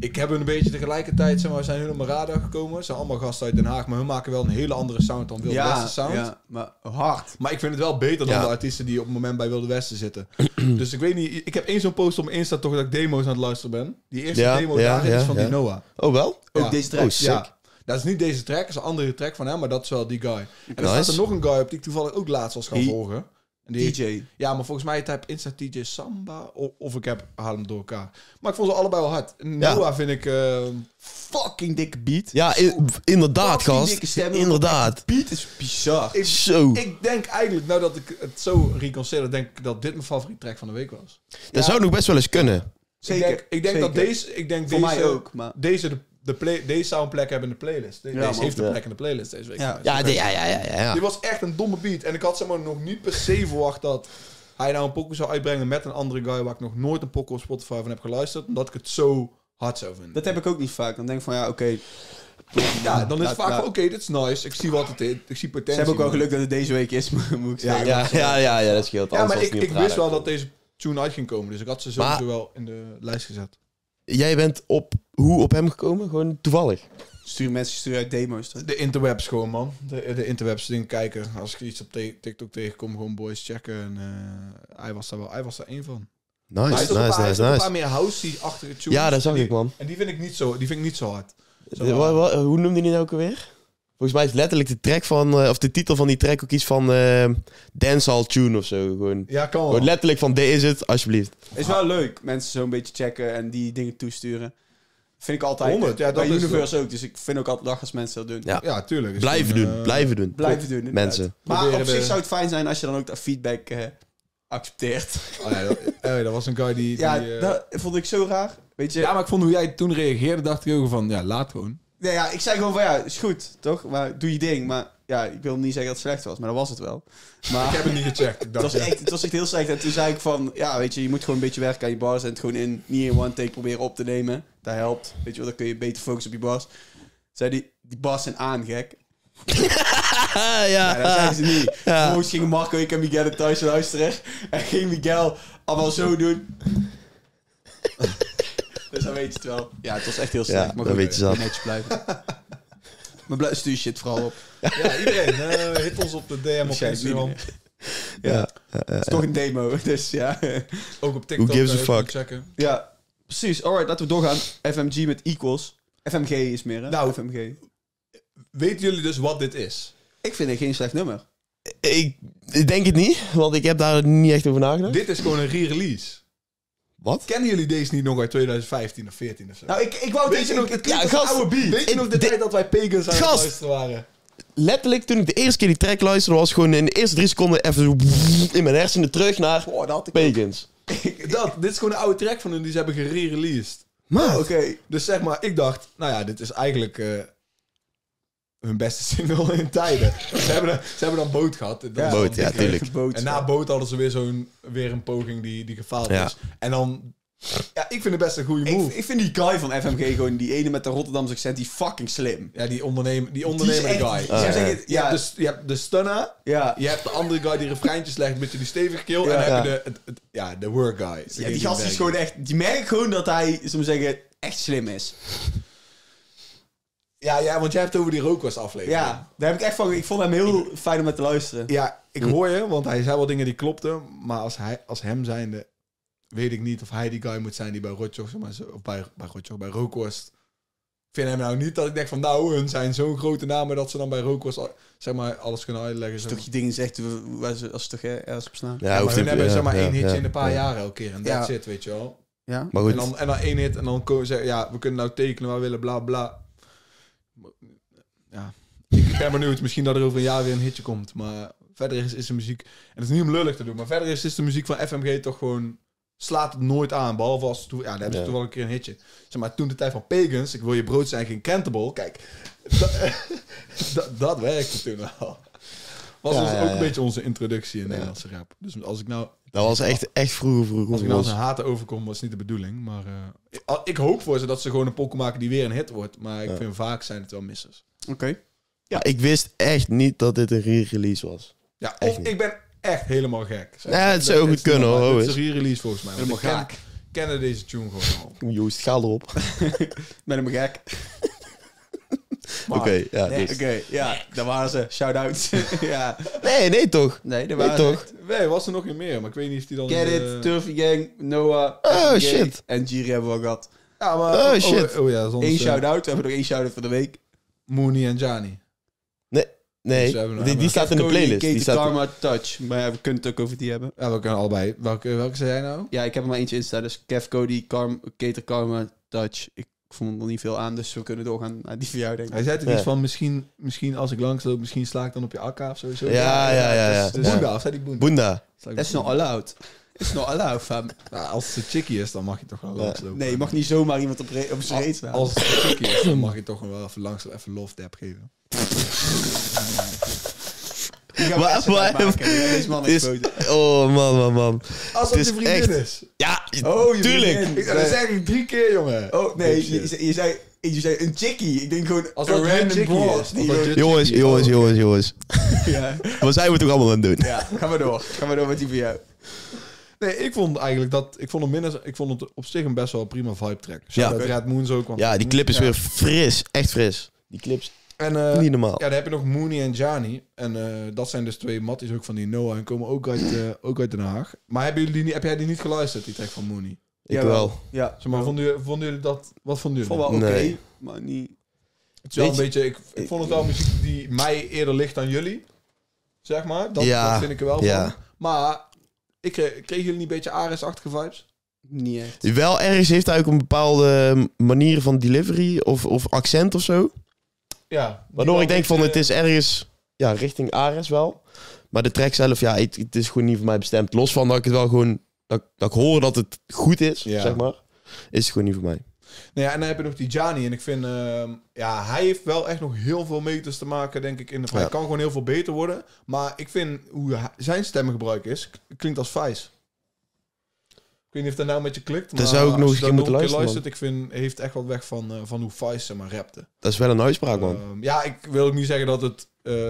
Speaker 1: Ik heb hun een beetje tegelijkertijd, zeg maar, we zijn hun op mijn radar gekomen. Ze zijn allemaal gasten uit Den Haag, maar hun maken wel een hele andere sound dan Wilde Westen sound.
Speaker 2: ja, maar hard.
Speaker 1: Maar ik vind het wel beter dan
Speaker 3: Ja.
Speaker 1: de artiesten die op het moment bij Wilde Westen zitten. dus ik weet niet, ik heb één zo'n post op mijn Insta toch dat ik demo's aan het luisteren ben. Die eerste
Speaker 3: Ja,
Speaker 1: demo
Speaker 3: ja,
Speaker 1: daarin
Speaker 3: ja,
Speaker 1: is van
Speaker 3: ja.
Speaker 1: die Noah.
Speaker 3: Oh, wel?
Speaker 2: Ook
Speaker 1: Ja.
Speaker 2: deze track.
Speaker 3: Oh, sick.
Speaker 1: Ja. Dat is niet deze track, dat is een andere track van hem, maar dat is wel die guy. En dan
Speaker 3: Nice.
Speaker 1: staat er nog een guy op die ik toevallig ook laatst was gaan
Speaker 2: Die-
Speaker 1: volgen. En die
Speaker 2: DJ.
Speaker 1: Ja, maar volgens mij type Insta DJ Samba of, of ik heb haal hem door elkaar. Maar ik vond ze allebei wel hard.
Speaker 3: Ja.
Speaker 1: Noah vind ik eh,
Speaker 2: Fucking dikke beat.
Speaker 3: Ja, in- inderdaad,
Speaker 2: Fucking
Speaker 3: gast.
Speaker 2: dikke stem.
Speaker 3: Inderdaad.
Speaker 2: Beat is bizar.
Speaker 1: Ik-
Speaker 3: Zo.
Speaker 1: Ik denk eigenlijk, nou dat ik het zo reconsider, denk ik dat dit mijn favoriete track van de week was.
Speaker 3: Dat zou nog best wel eens kunnen.
Speaker 1: ik denk, ik denk dat deze, ik denk
Speaker 2: Voor
Speaker 1: deze,
Speaker 2: mij ook, maar-
Speaker 1: deze de, de play, deze zou een plek hebben in de playlist. De-
Speaker 2: Ja,
Speaker 1: deze
Speaker 2: man.
Speaker 1: heeft een
Speaker 3: Ja.
Speaker 1: plek in de playlist deze week.
Speaker 2: Ja.
Speaker 1: Nou,
Speaker 3: Ja, de- ja, ja, ja, ja.
Speaker 1: Dit
Speaker 3: ja.
Speaker 1: was echt een domme beat. En ik had zeg maar, nog niet per se verwacht dat hij nou een pokoe zou uitbrengen met een andere guy waar ik nog nooit een pokoe op Spotify van heb geluisterd. Omdat ik het zo hard zou vinden.
Speaker 2: Dat heb ik ook niet vaak. Dan denk ik van ja, oké.
Speaker 1: ja, dan is het
Speaker 2: laat-
Speaker 1: vaak
Speaker 2: laat-
Speaker 1: van oké, dit is nice. Ik zie wat het is. Ik zie potentie.
Speaker 2: Ze hebben ook wel
Speaker 1: man.
Speaker 2: geluk dat het deze week is, moet ik zeggen.
Speaker 3: Ja, ja, ja, ja, dat scheelt.
Speaker 1: Ja,
Speaker 3: Anders
Speaker 1: maar
Speaker 3: was
Speaker 1: ik,
Speaker 3: het niet op
Speaker 1: ik
Speaker 3: de
Speaker 1: wist wel
Speaker 3: radar.
Speaker 1: dat deze tune uit ging komen. Dus ik had ze sowieso
Speaker 3: Maar-
Speaker 1: wel in de lijst gezet.
Speaker 3: Jij bent op... Hoe op hem gekomen? Gewoon toevallig.
Speaker 2: Stuur mensen sturen uit demo's. toch?
Speaker 1: De interwebs gewoon, man. De, de interwebs dingen kijken. Als ik iets op te- TikTok tegenkom, gewoon boys checken. En, eh, hij was daar wel, hij was daar één van.
Speaker 3: Nice,
Speaker 1: hij heeft ook een
Speaker 3: nice,
Speaker 1: paar- hij heeft
Speaker 3: nice,
Speaker 1: ook een
Speaker 3: nice.
Speaker 1: paar meer housey-achtige tunes.
Speaker 3: Ja, dat zag
Speaker 1: Die-
Speaker 3: ik, man.
Speaker 1: En die vind ik niet zo, die vind ik niet zo hard. Zo,
Speaker 3: De- wa- wa- hoe noemde hij nou ook alweer? Volgens mij is letterlijk de track van, eh, of de titel van die track ook iets van eh Dancehall Tune of zo. Gewoon,
Speaker 1: Ja, kan
Speaker 3: gewoon
Speaker 1: wel.
Speaker 3: letterlijk van, dit is het, alsjeblieft.
Speaker 2: Is wel leuk. Mensen zo'n beetje checken en die dingen toesturen. Vind ik altijd.
Speaker 1: 100, ja, dat
Speaker 2: Bij
Speaker 1: is
Speaker 2: Universe ook. Dus ik vind ook altijd lach als mensen dat doen.
Speaker 3: Ja.
Speaker 1: Ja, tuurlijk. Is
Speaker 3: Blijven
Speaker 1: gewoon,
Speaker 3: doen,
Speaker 1: eh,
Speaker 3: blijven doen.
Speaker 2: Blijven doen. inderdaad.
Speaker 3: Mensen.
Speaker 2: Maar
Speaker 1: Proberen
Speaker 2: op zich
Speaker 1: de-
Speaker 2: zou het fijn zijn als je dan ook dat feedback eh, accepteert.
Speaker 1: Oh ja, dat, eh, dat was een guy die... die,
Speaker 2: Ja,
Speaker 1: eh,
Speaker 2: dat vond ik zo raar. Weet je?
Speaker 1: ja, maar ik vond hoe jij toen reageerde, dacht ik ook van, ja, laat gewoon.
Speaker 2: Nee, ja, ik zei gewoon van ja, is goed, toch? Maar doe je ding. Maar ja, ik wil niet zeggen dat het slecht was, maar dat was het wel. Maar
Speaker 1: Ik heb het niet gecheckt. Ik
Speaker 2: het,
Speaker 1: dacht,
Speaker 2: was
Speaker 1: ja.
Speaker 2: echt, het was echt heel slecht. En toen zei ik van ja, weet je, je moet gewoon een beetje werken aan je bars en het gewoon in, niet in one take proberen op te nemen. Dat helpt. Weet je wel, dan kun je beter focussen op je bars. Zei die, die bars zijn aangek.
Speaker 3: Ah,
Speaker 2: Ja, dat
Speaker 3: ja.
Speaker 2: zijn ze niet.
Speaker 3: Ja.
Speaker 2: Vervolgens gingen Marco, ik en Miguel het thuis luisteren. En ging Miguel allemaal zo doen. dus dan weet je het wel. Ja, het was echt heel slecht.
Speaker 3: Ja,
Speaker 2: maar
Speaker 3: dan
Speaker 2: goed, eh,
Speaker 3: weet je dat.
Speaker 2: netjes blijven. maar blijf, stuur shit vooral op.
Speaker 1: Ja, iedereen. eh, hit ons op de DM op
Speaker 2: Shit,
Speaker 1: Instagram.
Speaker 2: Ja. Het is toch een demo, dus ja.
Speaker 1: Ook op TikTok.
Speaker 3: gives a
Speaker 1: eh, even
Speaker 3: fuck?
Speaker 1: Checken.
Speaker 2: ja, precies. Alright, laten we doorgaan. FMG met equals. FMG is meer, hè?
Speaker 1: Nou.
Speaker 2: FMG.
Speaker 1: Weten jullie dus wat dit is?
Speaker 2: Ik vind het geen slecht nummer.
Speaker 3: Ik, ik denk het niet, want ik heb daar niet echt over nagedacht.
Speaker 1: Dit is gewoon een re-release.
Speaker 3: Wat?
Speaker 1: Kennen jullie deze niet nog uit 2015 of 14 of zo?
Speaker 2: Nou, ik, ik wou
Speaker 1: Weet je nog, het klinkt als een oude beat. Weet je
Speaker 3: Ik-
Speaker 1: nog de
Speaker 3: dit-
Speaker 1: tijd dat wij pagans aan het
Speaker 3: Gast!
Speaker 1: luisteren waren?
Speaker 3: Letterlijk, toen ik de eerste keer die track luisterde, was gewoon in de eerste drie seconden even zo in mijn hersenen terug naar
Speaker 2: Oh, dat had ik ook.
Speaker 3: Pagans.
Speaker 1: Dat, dit is gewoon een oude track van hun die ze hebben gere-released.
Speaker 3: Maar,
Speaker 2: Oké.
Speaker 1: Dus zeg maar, ik dacht, nou ja, dit is eigenlijk eh, hun beste single in tijden. ze, hebben dan, ze hebben dan boot gehad. Dat is dan
Speaker 3: Boot, ja,
Speaker 1: dikker.
Speaker 3: tuurlijk.
Speaker 2: Geboot,
Speaker 1: En na boot hadden ze weer zo'n weer een poging die, die gefaald
Speaker 3: Ja.
Speaker 1: is. En dan, ja, ik vind het best een goede
Speaker 2: Ik,
Speaker 1: move.
Speaker 2: ik vind die guy van FMG gewoon, die ene met de Rotterdamse accent, die fucking slim.
Speaker 1: ja, die ondernemer, die
Speaker 2: Die is
Speaker 1: ondernemer
Speaker 2: echt...
Speaker 1: guy.
Speaker 2: ja,
Speaker 1: Je
Speaker 2: zeg
Speaker 1: hebt-
Speaker 2: het,
Speaker 1: Je,
Speaker 2: ja,
Speaker 1: hebt dus, je hebt de stunner,
Speaker 2: ja, ja,
Speaker 1: je hebt de andere guy die refreintjes legt, een beetje die stevige keel. En dan
Speaker 3: Ja.
Speaker 1: heb je de, het- het- ja, de work guy. Degene
Speaker 2: die gast
Speaker 1: werkt.
Speaker 2: is gewoon echt... Die merkt gewoon dat hij, zullen we zeggen, echt slim is.
Speaker 1: Ja, ja, want jij hebt het over die rookwas aflevering.
Speaker 2: Ja, daar heb ik echt van... Ik vond hem heel fijn om met te luisteren.
Speaker 1: Ja, ik hoor je, want hij zei wel dingen die klopten. Maar als, hij, als hem zijnde weet ik niet of hij die guy moet zijn die bij Rotjoch, zeg maar, zo- of bij, bij Rotjoch, bij Rookhorst. Ik vind hem nou niet dat ik denk van nou, hun zijn zo'n grote namen dat ze dan bij Rookhorst al- zeg maar, alles kunnen uitleggen. Zeg
Speaker 2: toch
Speaker 1: maar.
Speaker 2: je dingen zegt w- waar ze, als ze toch eh, ergens op slaan.
Speaker 3: ja,
Speaker 1: maar
Speaker 3: hoeft
Speaker 1: hun
Speaker 3: niet-
Speaker 1: hebben
Speaker 3: ja,
Speaker 1: zeg maar
Speaker 3: ja,
Speaker 1: één hitje
Speaker 3: ja,
Speaker 1: in een paar
Speaker 3: ja.
Speaker 1: jaar elke keer en
Speaker 2: Ja.
Speaker 1: that's it, weet je wel.
Speaker 2: Ja.
Speaker 3: Maar goed,
Speaker 1: En dan, en dan één hit en dan komen ze ja, we kunnen nou tekenen, maar we willen bla bla. Ja, ik ben benieuwd. Misschien dat er over een jaar weer een hitje komt. Maar verder is, is de muziek... En het is niet om lullig te doen, maar verder is, is de muziek van FMG toch gewoon... Slaat het nooit aan, behalve als... toe- Ja, daar hebben ze
Speaker 3: Ja.
Speaker 1: toen wel een keer een hitje. Zeg maar, toen de tijd van Pagans, ik wil je brood zijn, geen Cantable. Kijk, dat- dat- dat werkte toen al. was
Speaker 3: Ja,
Speaker 1: dus
Speaker 3: ja,
Speaker 1: ook
Speaker 3: ja.
Speaker 1: een beetje onze introductie in Nederlandse rap. Dus als ik nou,
Speaker 3: Dat was echt, echt vroeger, vroeger.
Speaker 1: als ik nou als een haat overkom, was niet de bedoeling. Maar eh, ik, al- ik hoop voor ze dat ze gewoon een pokken maken die weer een hit wordt. Maar ik vind vaak zijn het wel missers.
Speaker 2: Oké.
Speaker 3: Maar ik wist echt niet dat dit een re-release was.
Speaker 1: Ja, of
Speaker 3: Echt niet.
Speaker 1: ik ben echt helemaal gek. Zeg,
Speaker 3: Ja, het
Speaker 1: dat
Speaker 3: zou
Speaker 1: is
Speaker 3: goed kunnen,
Speaker 1: normaal.
Speaker 3: hoor,
Speaker 1: Dit
Speaker 3: is.
Speaker 1: is een re-release volgens mij. want
Speaker 2: Helemaal
Speaker 1: ik ken- kennen deze tune gewoon al.
Speaker 3: Joost, ga erop. Oké,
Speaker 2: Met hem gek.
Speaker 1: Maar-
Speaker 3: ja.
Speaker 2: Oké,
Speaker 3: dus.
Speaker 2: ja, daar waren ze. Shout-out. ja.
Speaker 3: Nee, nee toch?
Speaker 2: Nee, daar
Speaker 3: Nee,
Speaker 2: waren
Speaker 3: toch?
Speaker 2: ze.
Speaker 1: Nee, was er nog in meer, maar ik weet niet of die dan...
Speaker 2: Get
Speaker 1: eh,
Speaker 2: It, Turfy Gang, Noah,
Speaker 3: Oh,
Speaker 2: FBG
Speaker 3: shit.
Speaker 2: en Jiri hebben we al gehad.
Speaker 1: Ja, maar...
Speaker 3: Oh, shit.
Speaker 1: Oh, ja, zonder
Speaker 2: Eén shout-out, we hebben nog één shout-out van de week.
Speaker 1: Mooney en Jani.
Speaker 3: Nee, nee.
Speaker 1: Dus we hebben-
Speaker 3: die, die staat in de playlist.
Speaker 2: Kate
Speaker 3: Die staat...
Speaker 2: Karma Touch, maar ja, we kunnen het ook over die hebben.
Speaker 1: Ja, we kunnen allebei. Welke, welke zei jij nou?
Speaker 2: Ja, ik heb er maar eentje in staan, dus Kev Cody, Karm, Kater Karma Touch. Ik vond er niet veel aan, dus we kunnen doorgaan naar die voor jou, denk ik.
Speaker 1: Hij zei toch
Speaker 3: Ja.
Speaker 1: iets van, misschien, misschien als ik langs loop, misschien sla ik dan op je akka of sowieso.
Speaker 3: Ja, ja, ja, ja.
Speaker 1: Dus, dus
Speaker 3: Ja.
Speaker 1: Boenda, of zei die Boenda?
Speaker 3: Boenda.
Speaker 1: Sla ik
Speaker 2: That's
Speaker 1: op
Speaker 2: not allowed. It's not allowed, fam.
Speaker 1: Boenda. Ja, als het een chickie is, dan mag je toch wel langs lopen.
Speaker 2: Nee, je mag niet zomaar iemand op, re- op zijn reet slaan.
Speaker 1: Als het een chickie is, dan mag je toch wel even langs even love tap geven.
Speaker 2: Die gaan we
Speaker 3: Waar-
Speaker 2: echt
Speaker 3: waar-
Speaker 2: maken. Deze man is
Speaker 3: Is-
Speaker 2: groot.
Speaker 3: Oh, man, man, man.
Speaker 1: Als
Speaker 3: Het
Speaker 1: het
Speaker 3: is
Speaker 1: je vriendin
Speaker 3: echt-
Speaker 1: is.
Speaker 3: Ja,
Speaker 2: Oh, je
Speaker 3: tuurlijk.
Speaker 2: vriendin.
Speaker 1: Ik, dat zeg ik drie keer, jongen.
Speaker 2: Oh, nee,
Speaker 1: Bullshit.
Speaker 2: je, je, zei, je zei een chickie. Ik denk gewoon
Speaker 1: Als
Speaker 2: een
Speaker 1: dat hun
Speaker 2: random
Speaker 1: chickie
Speaker 2: broad
Speaker 1: is,
Speaker 2: die
Speaker 1: of dat
Speaker 2: gewoon-
Speaker 1: je-
Speaker 3: Jongens, jongens, jongens, jongens.
Speaker 2: Ja,
Speaker 3: Wat zijn we toch allemaal aan het doen?
Speaker 2: ja, ga maar door. Ga maar door met die van jou.
Speaker 1: Nee, ik vond eigenlijk dat... Ik vond, hem minder, ik vond het op zich een best wel prima vibe track.
Speaker 3: Ja.
Speaker 1: Ja. Dat Red Moons ook. want-
Speaker 3: Ja, die clip is
Speaker 1: Ja.
Speaker 3: weer fris. Echt fris. Die clips.
Speaker 1: En, eh,
Speaker 3: Niet normaal.
Speaker 1: Ja, dan heb je nog Mooney en Jani. En eh, dat zijn dus twee matties ook van die Noah. En komen ook uit, eh, ook uit Den Haag. Maar hebben jullie, niet- heb jij die niet geluisterd, die track van Mooney?
Speaker 3: Ik wel.
Speaker 2: Ja,
Speaker 1: Zeg maar, vonden, jullie, vonden jullie dat... Wat vonden
Speaker 2: vond
Speaker 1: jullie?
Speaker 2: wel oké,
Speaker 3: Nee.
Speaker 2: maar niet...
Speaker 1: Het is wel een
Speaker 3: Weet je-
Speaker 1: beetje... Ik, ik vond het wel muziek die mij eerder ligt dan jullie. Zeg maar. Dat,
Speaker 3: Ja,
Speaker 1: dat vind ik er wel
Speaker 3: ja.
Speaker 1: van. Maar ik, kreeg- kregen jullie niet een beetje Ares-achtige vibes?
Speaker 2: Niet echt.
Speaker 3: Wel ergens heeft hij ook een bepaalde mm, manier van delivery of, of accent of zo.
Speaker 1: Ja.
Speaker 3: Waardoor ik denk van het is ergens ja, richting Ares wel. Maar de track zelf, ja, het, het is gewoon niet voor mij bestemd. Los van dat ik het wel gewoon, dat, dat ik hoor dat het goed is,
Speaker 1: Ja.
Speaker 3: zeg maar. Is het gewoon niet voor mij.
Speaker 1: Nou ja, en dan heb je nog die Jani. En ik vind, ehm, ja, hij heeft wel echt nog heel veel meters te maken, denk ik. In de, Hij
Speaker 3: Ja.
Speaker 1: kan gewoon heel veel beter worden. Maar ik vind hoe hij- zijn stemgebruik is, k- klinkt als Vijs. Ik weet niet of dat nou met je klikt. Maar
Speaker 3: zou ik nog
Speaker 1: als
Speaker 3: eens
Speaker 1: je
Speaker 3: een keer
Speaker 1: dat nog
Speaker 3: moeten
Speaker 1: een keer
Speaker 3: luisteren,
Speaker 1: luistert, ik vind, heeft echt wat weg van, eh, van hoe Vijs zeg maar rapte.
Speaker 3: Dat is wel een uitspraak, man.
Speaker 1: Ehm, ja, ik wil ook niet zeggen dat het eh,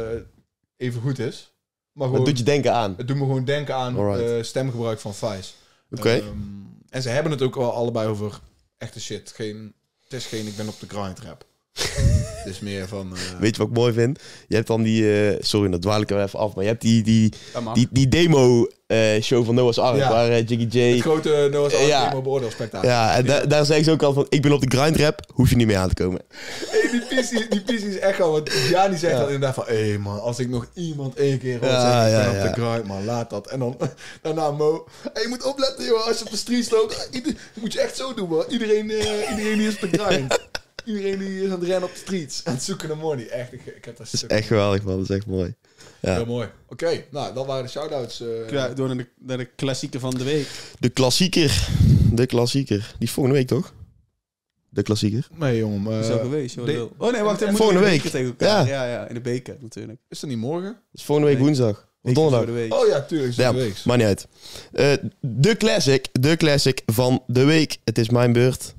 Speaker 1: even goed is. Maar
Speaker 3: dat
Speaker 1: gewoon,
Speaker 3: doet je denken aan.
Speaker 1: het doet me gewoon denken aan
Speaker 3: Alright.
Speaker 1: eh, stemgebruik van Vijs.
Speaker 3: Oké.
Speaker 1: Ehm, en ze hebben het ook wel allebei over echte shit. Geen, het is geen ik ben op de grind rap. het is meer van... eh,
Speaker 3: Weet je wat ik mooi vind? Je hebt dan die, eh, sorry, dat dwaal ik er wel even af, maar je hebt die, die,
Speaker 2: Dat mag.
Speaker 3: die, die demo-show van Noah's Ark,
Speaker 1: Ja.
Speaker 3: waar eh, Jiggy
Speaker 1: het
Speaker 3: J...
Speaker 1: grote Noah's Ark
Speaker 3: Ja.
Speaker 1: Demo beoordeelspectakel.
Speaker 3: Ja, en da- daar zeggen ze ook al van, ik ben op de grindrap, hoef je niet mee aan te komen.
Speaker 1: Hey, die piece is- die piece is echt al... Want Jani zegt dat inderdaad van... Hé hey man, als ik nog iemand één keer hoor
Speaker 3: Ja,
Speaker 1: zeggen... Ik ben
Speaker 3: ja,
Speaker 1: op
Speaker 3: ja.
Speaker 1: de grind, man, laat dat. En dan daarna Mo... Hey, je moet opletten, joh. Als je op de street loopt... eh, ieder- moet je echt zo doen, man. Iedereen, eh, iedereen die is op de grind. Iedereen die is aan het rennen op de streets. Aan het zoeken naar money. Echt, ik, ik heb dat
Speaker 3: Dat is echt geweldig, man. Dat is echt mooi. Ja.
Speaker 1: Heel mooi. Oké, nou, dat waren de shout-outs. eh.
Speaker 2: Ja, door naar de, naar de klassieker van de week.
Speaker 3: De klassieker. De klassieker. Die is volgende week, toch? De klassieker.
Speaker 1: Nee, jongen. maar- eh,
Speaker 2: Zo geweest, joh.
Speaker 1: de-
Speaker 2: lul. Oh nee, wacht. even.
Speaker 3: Volgende week.
Speaker 2: Tegen elkaar.
Speaker 3: Ja.
Speaker 2: Ja. ja, in de beker natuurlijk.
Speaker 1: Is dat niet morgen?
Speaker 3: Dat is volgende week
Speaker 2: Nee.
Speaker 3: woensdag. Of
Speaker 2: Beker
Speaker 3: donderdag.
Speaker 2: door de week.
Speaker 1: Oh ja, tuurlijk. Is
Speaker 3: Ja,
Speaker 1: dat geweest.
Speaker 3: maakt niet uit. Eh, de classic. De classic van de week. Het is mijn beurt.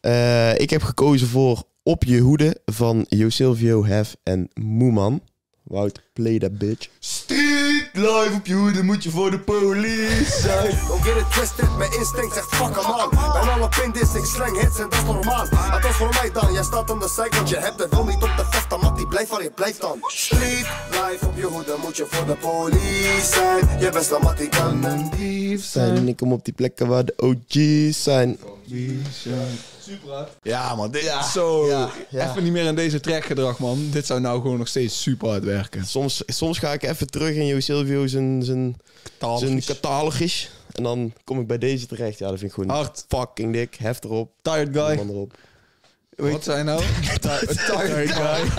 Speaker 3: Eh, ik heb gekozen voor Op je hoede van Josilvio, Hef en Moeman. Wout, play that bitch.
Speaker 2: Street live op je hoede moet je voor de police zijn.
Speaker 4: Don't get it twisted, mijn instinct zegt fuck hem aan. Bijna alle pindies, ik slang hits en dat is normaal. Het was voor mij dan, jij staat aan de side, want je hebt het wil niet op de vecht, dan mat die blijft waar je blijft dan. Street life op je hoede, moet je voor de police zijn. Je beste mat, die kan een dief
Speaker 3: Zijn ik kom op die plekken waar de OG's zijn.
Speaker 1: Ja, man. Dit is zo... Even niet meer aan deze trackgedrag, man. Dit zou nou gewoon nog steeds super hard werken.
Speaker 3: Soms, soms ga ik even terug in Josilvio zijn, zijn zijn catalogus. En dan kom ik bij deze terecht. Ja, dat vind ik gewoon
Speaker 2: Hard.
Speaker 3: fucking dik. Hef erop.
Speaker 2: Tired
Speaker 3: de
Speaker 2: guy.
Speaker 3: man erop.
Speaker 1: Wat zijn nou?
Speaker 2: Tired guy.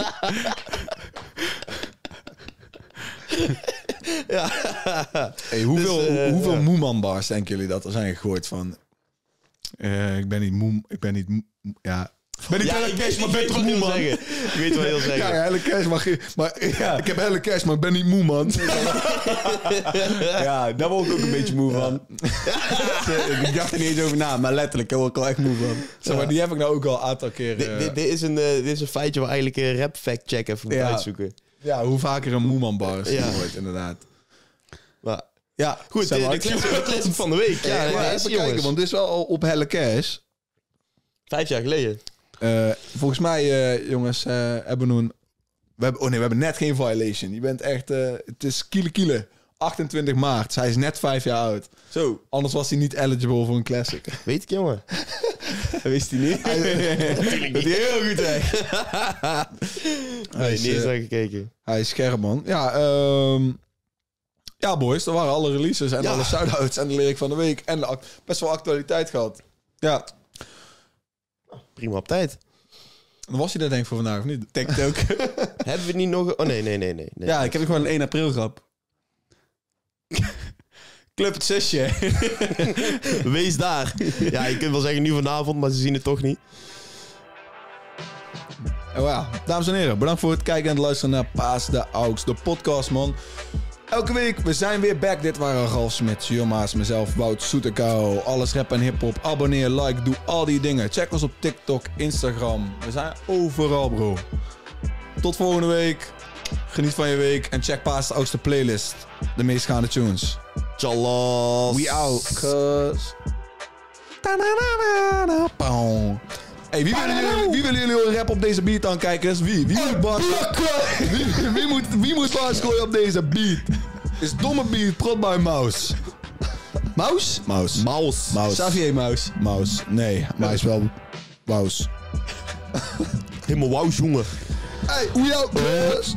Speaker 1: Hey, hoeveel
Speaker 3: Dus, eh,
Speaker 1: hoeveel
Speaker 3: ja.
Speaker 1: Moeman-bars denken jullie dat er zijn gegooid van... eh, ik ben niet moem... Ik ben niet... moe- Ja... Ben ik
Speaker 3: Ja,
Speaker 1: Helle
Speaker 3: ik
Speaker 1: Cash,
Speaker 3: weet-
Speaker 1: maar
Speaker 3: ik
Speaker 1: ben
Speaker 3: weet
Speaker 1: toch
Speaker 3: wat je
Speaker 1: moe,
Speaker 3: wil
Speaker 1: man?
Speaker 3: zeggen. Ik weet wat je wil
Speaker 1: Ja,
Speaker 3: zeggen.
Speaker 1: Helle Cash, maar, ge- maar ik heb Helle Cash, maar ik ben niet moe, man.
Speaker 2: Ja, daar word ik ook een beetje moe van. ik dacht er niet eens over na, maar letterlijk, daar word ik al echt moe van.
Speaker 1: Zeg maar, die heb ik nou ook al een aantal keer...
Speaker 3: Dit-
Speaker 1: eh,
Speaker 3: dit- Dit is een, eh, dit is een feitje waar eigenlijk een rap fact check even moet
Speaker 2: Ja.
Speaker 3: uitzoeken.
Speaker 1: ja, hoe vaker een moeman bar is
Speaker 3: Ja.
Speaker 1: gegooid, inderdaad.
Speaker 3: Maar
Speaker 2: Ja,
Speaker 3: goed,
Speaker 2: zeg
Speaker 3: dit-
Speaker 2: maar,
Speaker 3: de
Speaker 2: ik-
Speaker 3: clip- de clip van de week. Ja,
Speaker 1: maar
Speaker 3: deze,
Speaker 1: even
Speaker 3: jongens.
Speaker 1: kijken, want dit is wel al op Helle Cash.
Speaker 3: Vijf jaar geleden.
Speaker 1: Eh, volgens mij, eh, jongens, eh, hebben we een... We hebben, oh nee, we hebben net geen violation. Je bent echt... eh, het is kiele kiele. 28 maart. Zij is net vijf jaar oud.
Speaker 2: Zo,
Speaker 1: Anders was hij niet eligible voor een classic.
Speaker 3: Weet ik, jongen.
Speaker 2: dat wist hij niet.
Speaker 3: Dat is heel goed, hè?
Speaker 1: Hij
Speaker 3: Nee,
Speaker 1: is,
Speaker 3: niet eens
Speaker 1: eh,
Speaker 3: naar gekeken.
Speaker 1: hij is scherp, man. Ja, ehm, ja, boys. Dat waren alle releases en
Speaker 3: Ja.
Speaker 1: alle shout-outs en de lyric van de week. En de act- best wel actualiteit gehad.
Speaker 2: Ja,
Speaker 3: Prima op tijd.
Speaker 1: Dan was hij er denk ik voor vandaag, of niet?
Speaker 2: denk het ook.
Speaker 3: Hebben we niet nog... Oh, nee, nee, nee, nee. nee.
Speaker 2: Ja, ik heb gewoon een 1 april grap. Club het zesje.
Speaker 3: Wees daar. Ja, je kunt wel zeggen nu vanavond, maar ze zien het toch niet.
Speaker 1: Oh ja, dames en heren, bedankt voor het kijken en het luisteren naar Paas de Aux, de podcast, man. Elke week, we zijn weer back. Dit waren Ralf Smit, Jumma's, mezelf, Wout Soetekau. Alles rap en hiphop. Abonneer, like, doe al die dingen. Check ons op TikTok, Instagram. We zijn overal, bro. Tot volgende week. Geniet van je week en check Paas de Aux, de playlist. De meest gaande tunes.
Speaker 3: Tjallas.
Speaker 1: We out, cuz. Ta-da-da-da-da, pow. Hey, wie willen, jullie, wie willen jullie horen rap op deze beat dan, kijkers? Wie? Wie moet bars wie, wie moet, wie moet bars gooien op deze beat? Is domme beat, prot bij Maus. Maus? Maus.
Speaker 3: Maus.
Speaker 1: Maus.
Speaker 2: Xavier Maus.
Speaker 1: Maus. Nee, maar hij is wel... Maus.
Speaker 3: Helemaal wauw, jongen.
Speaker 1: Hey, we out, cuz.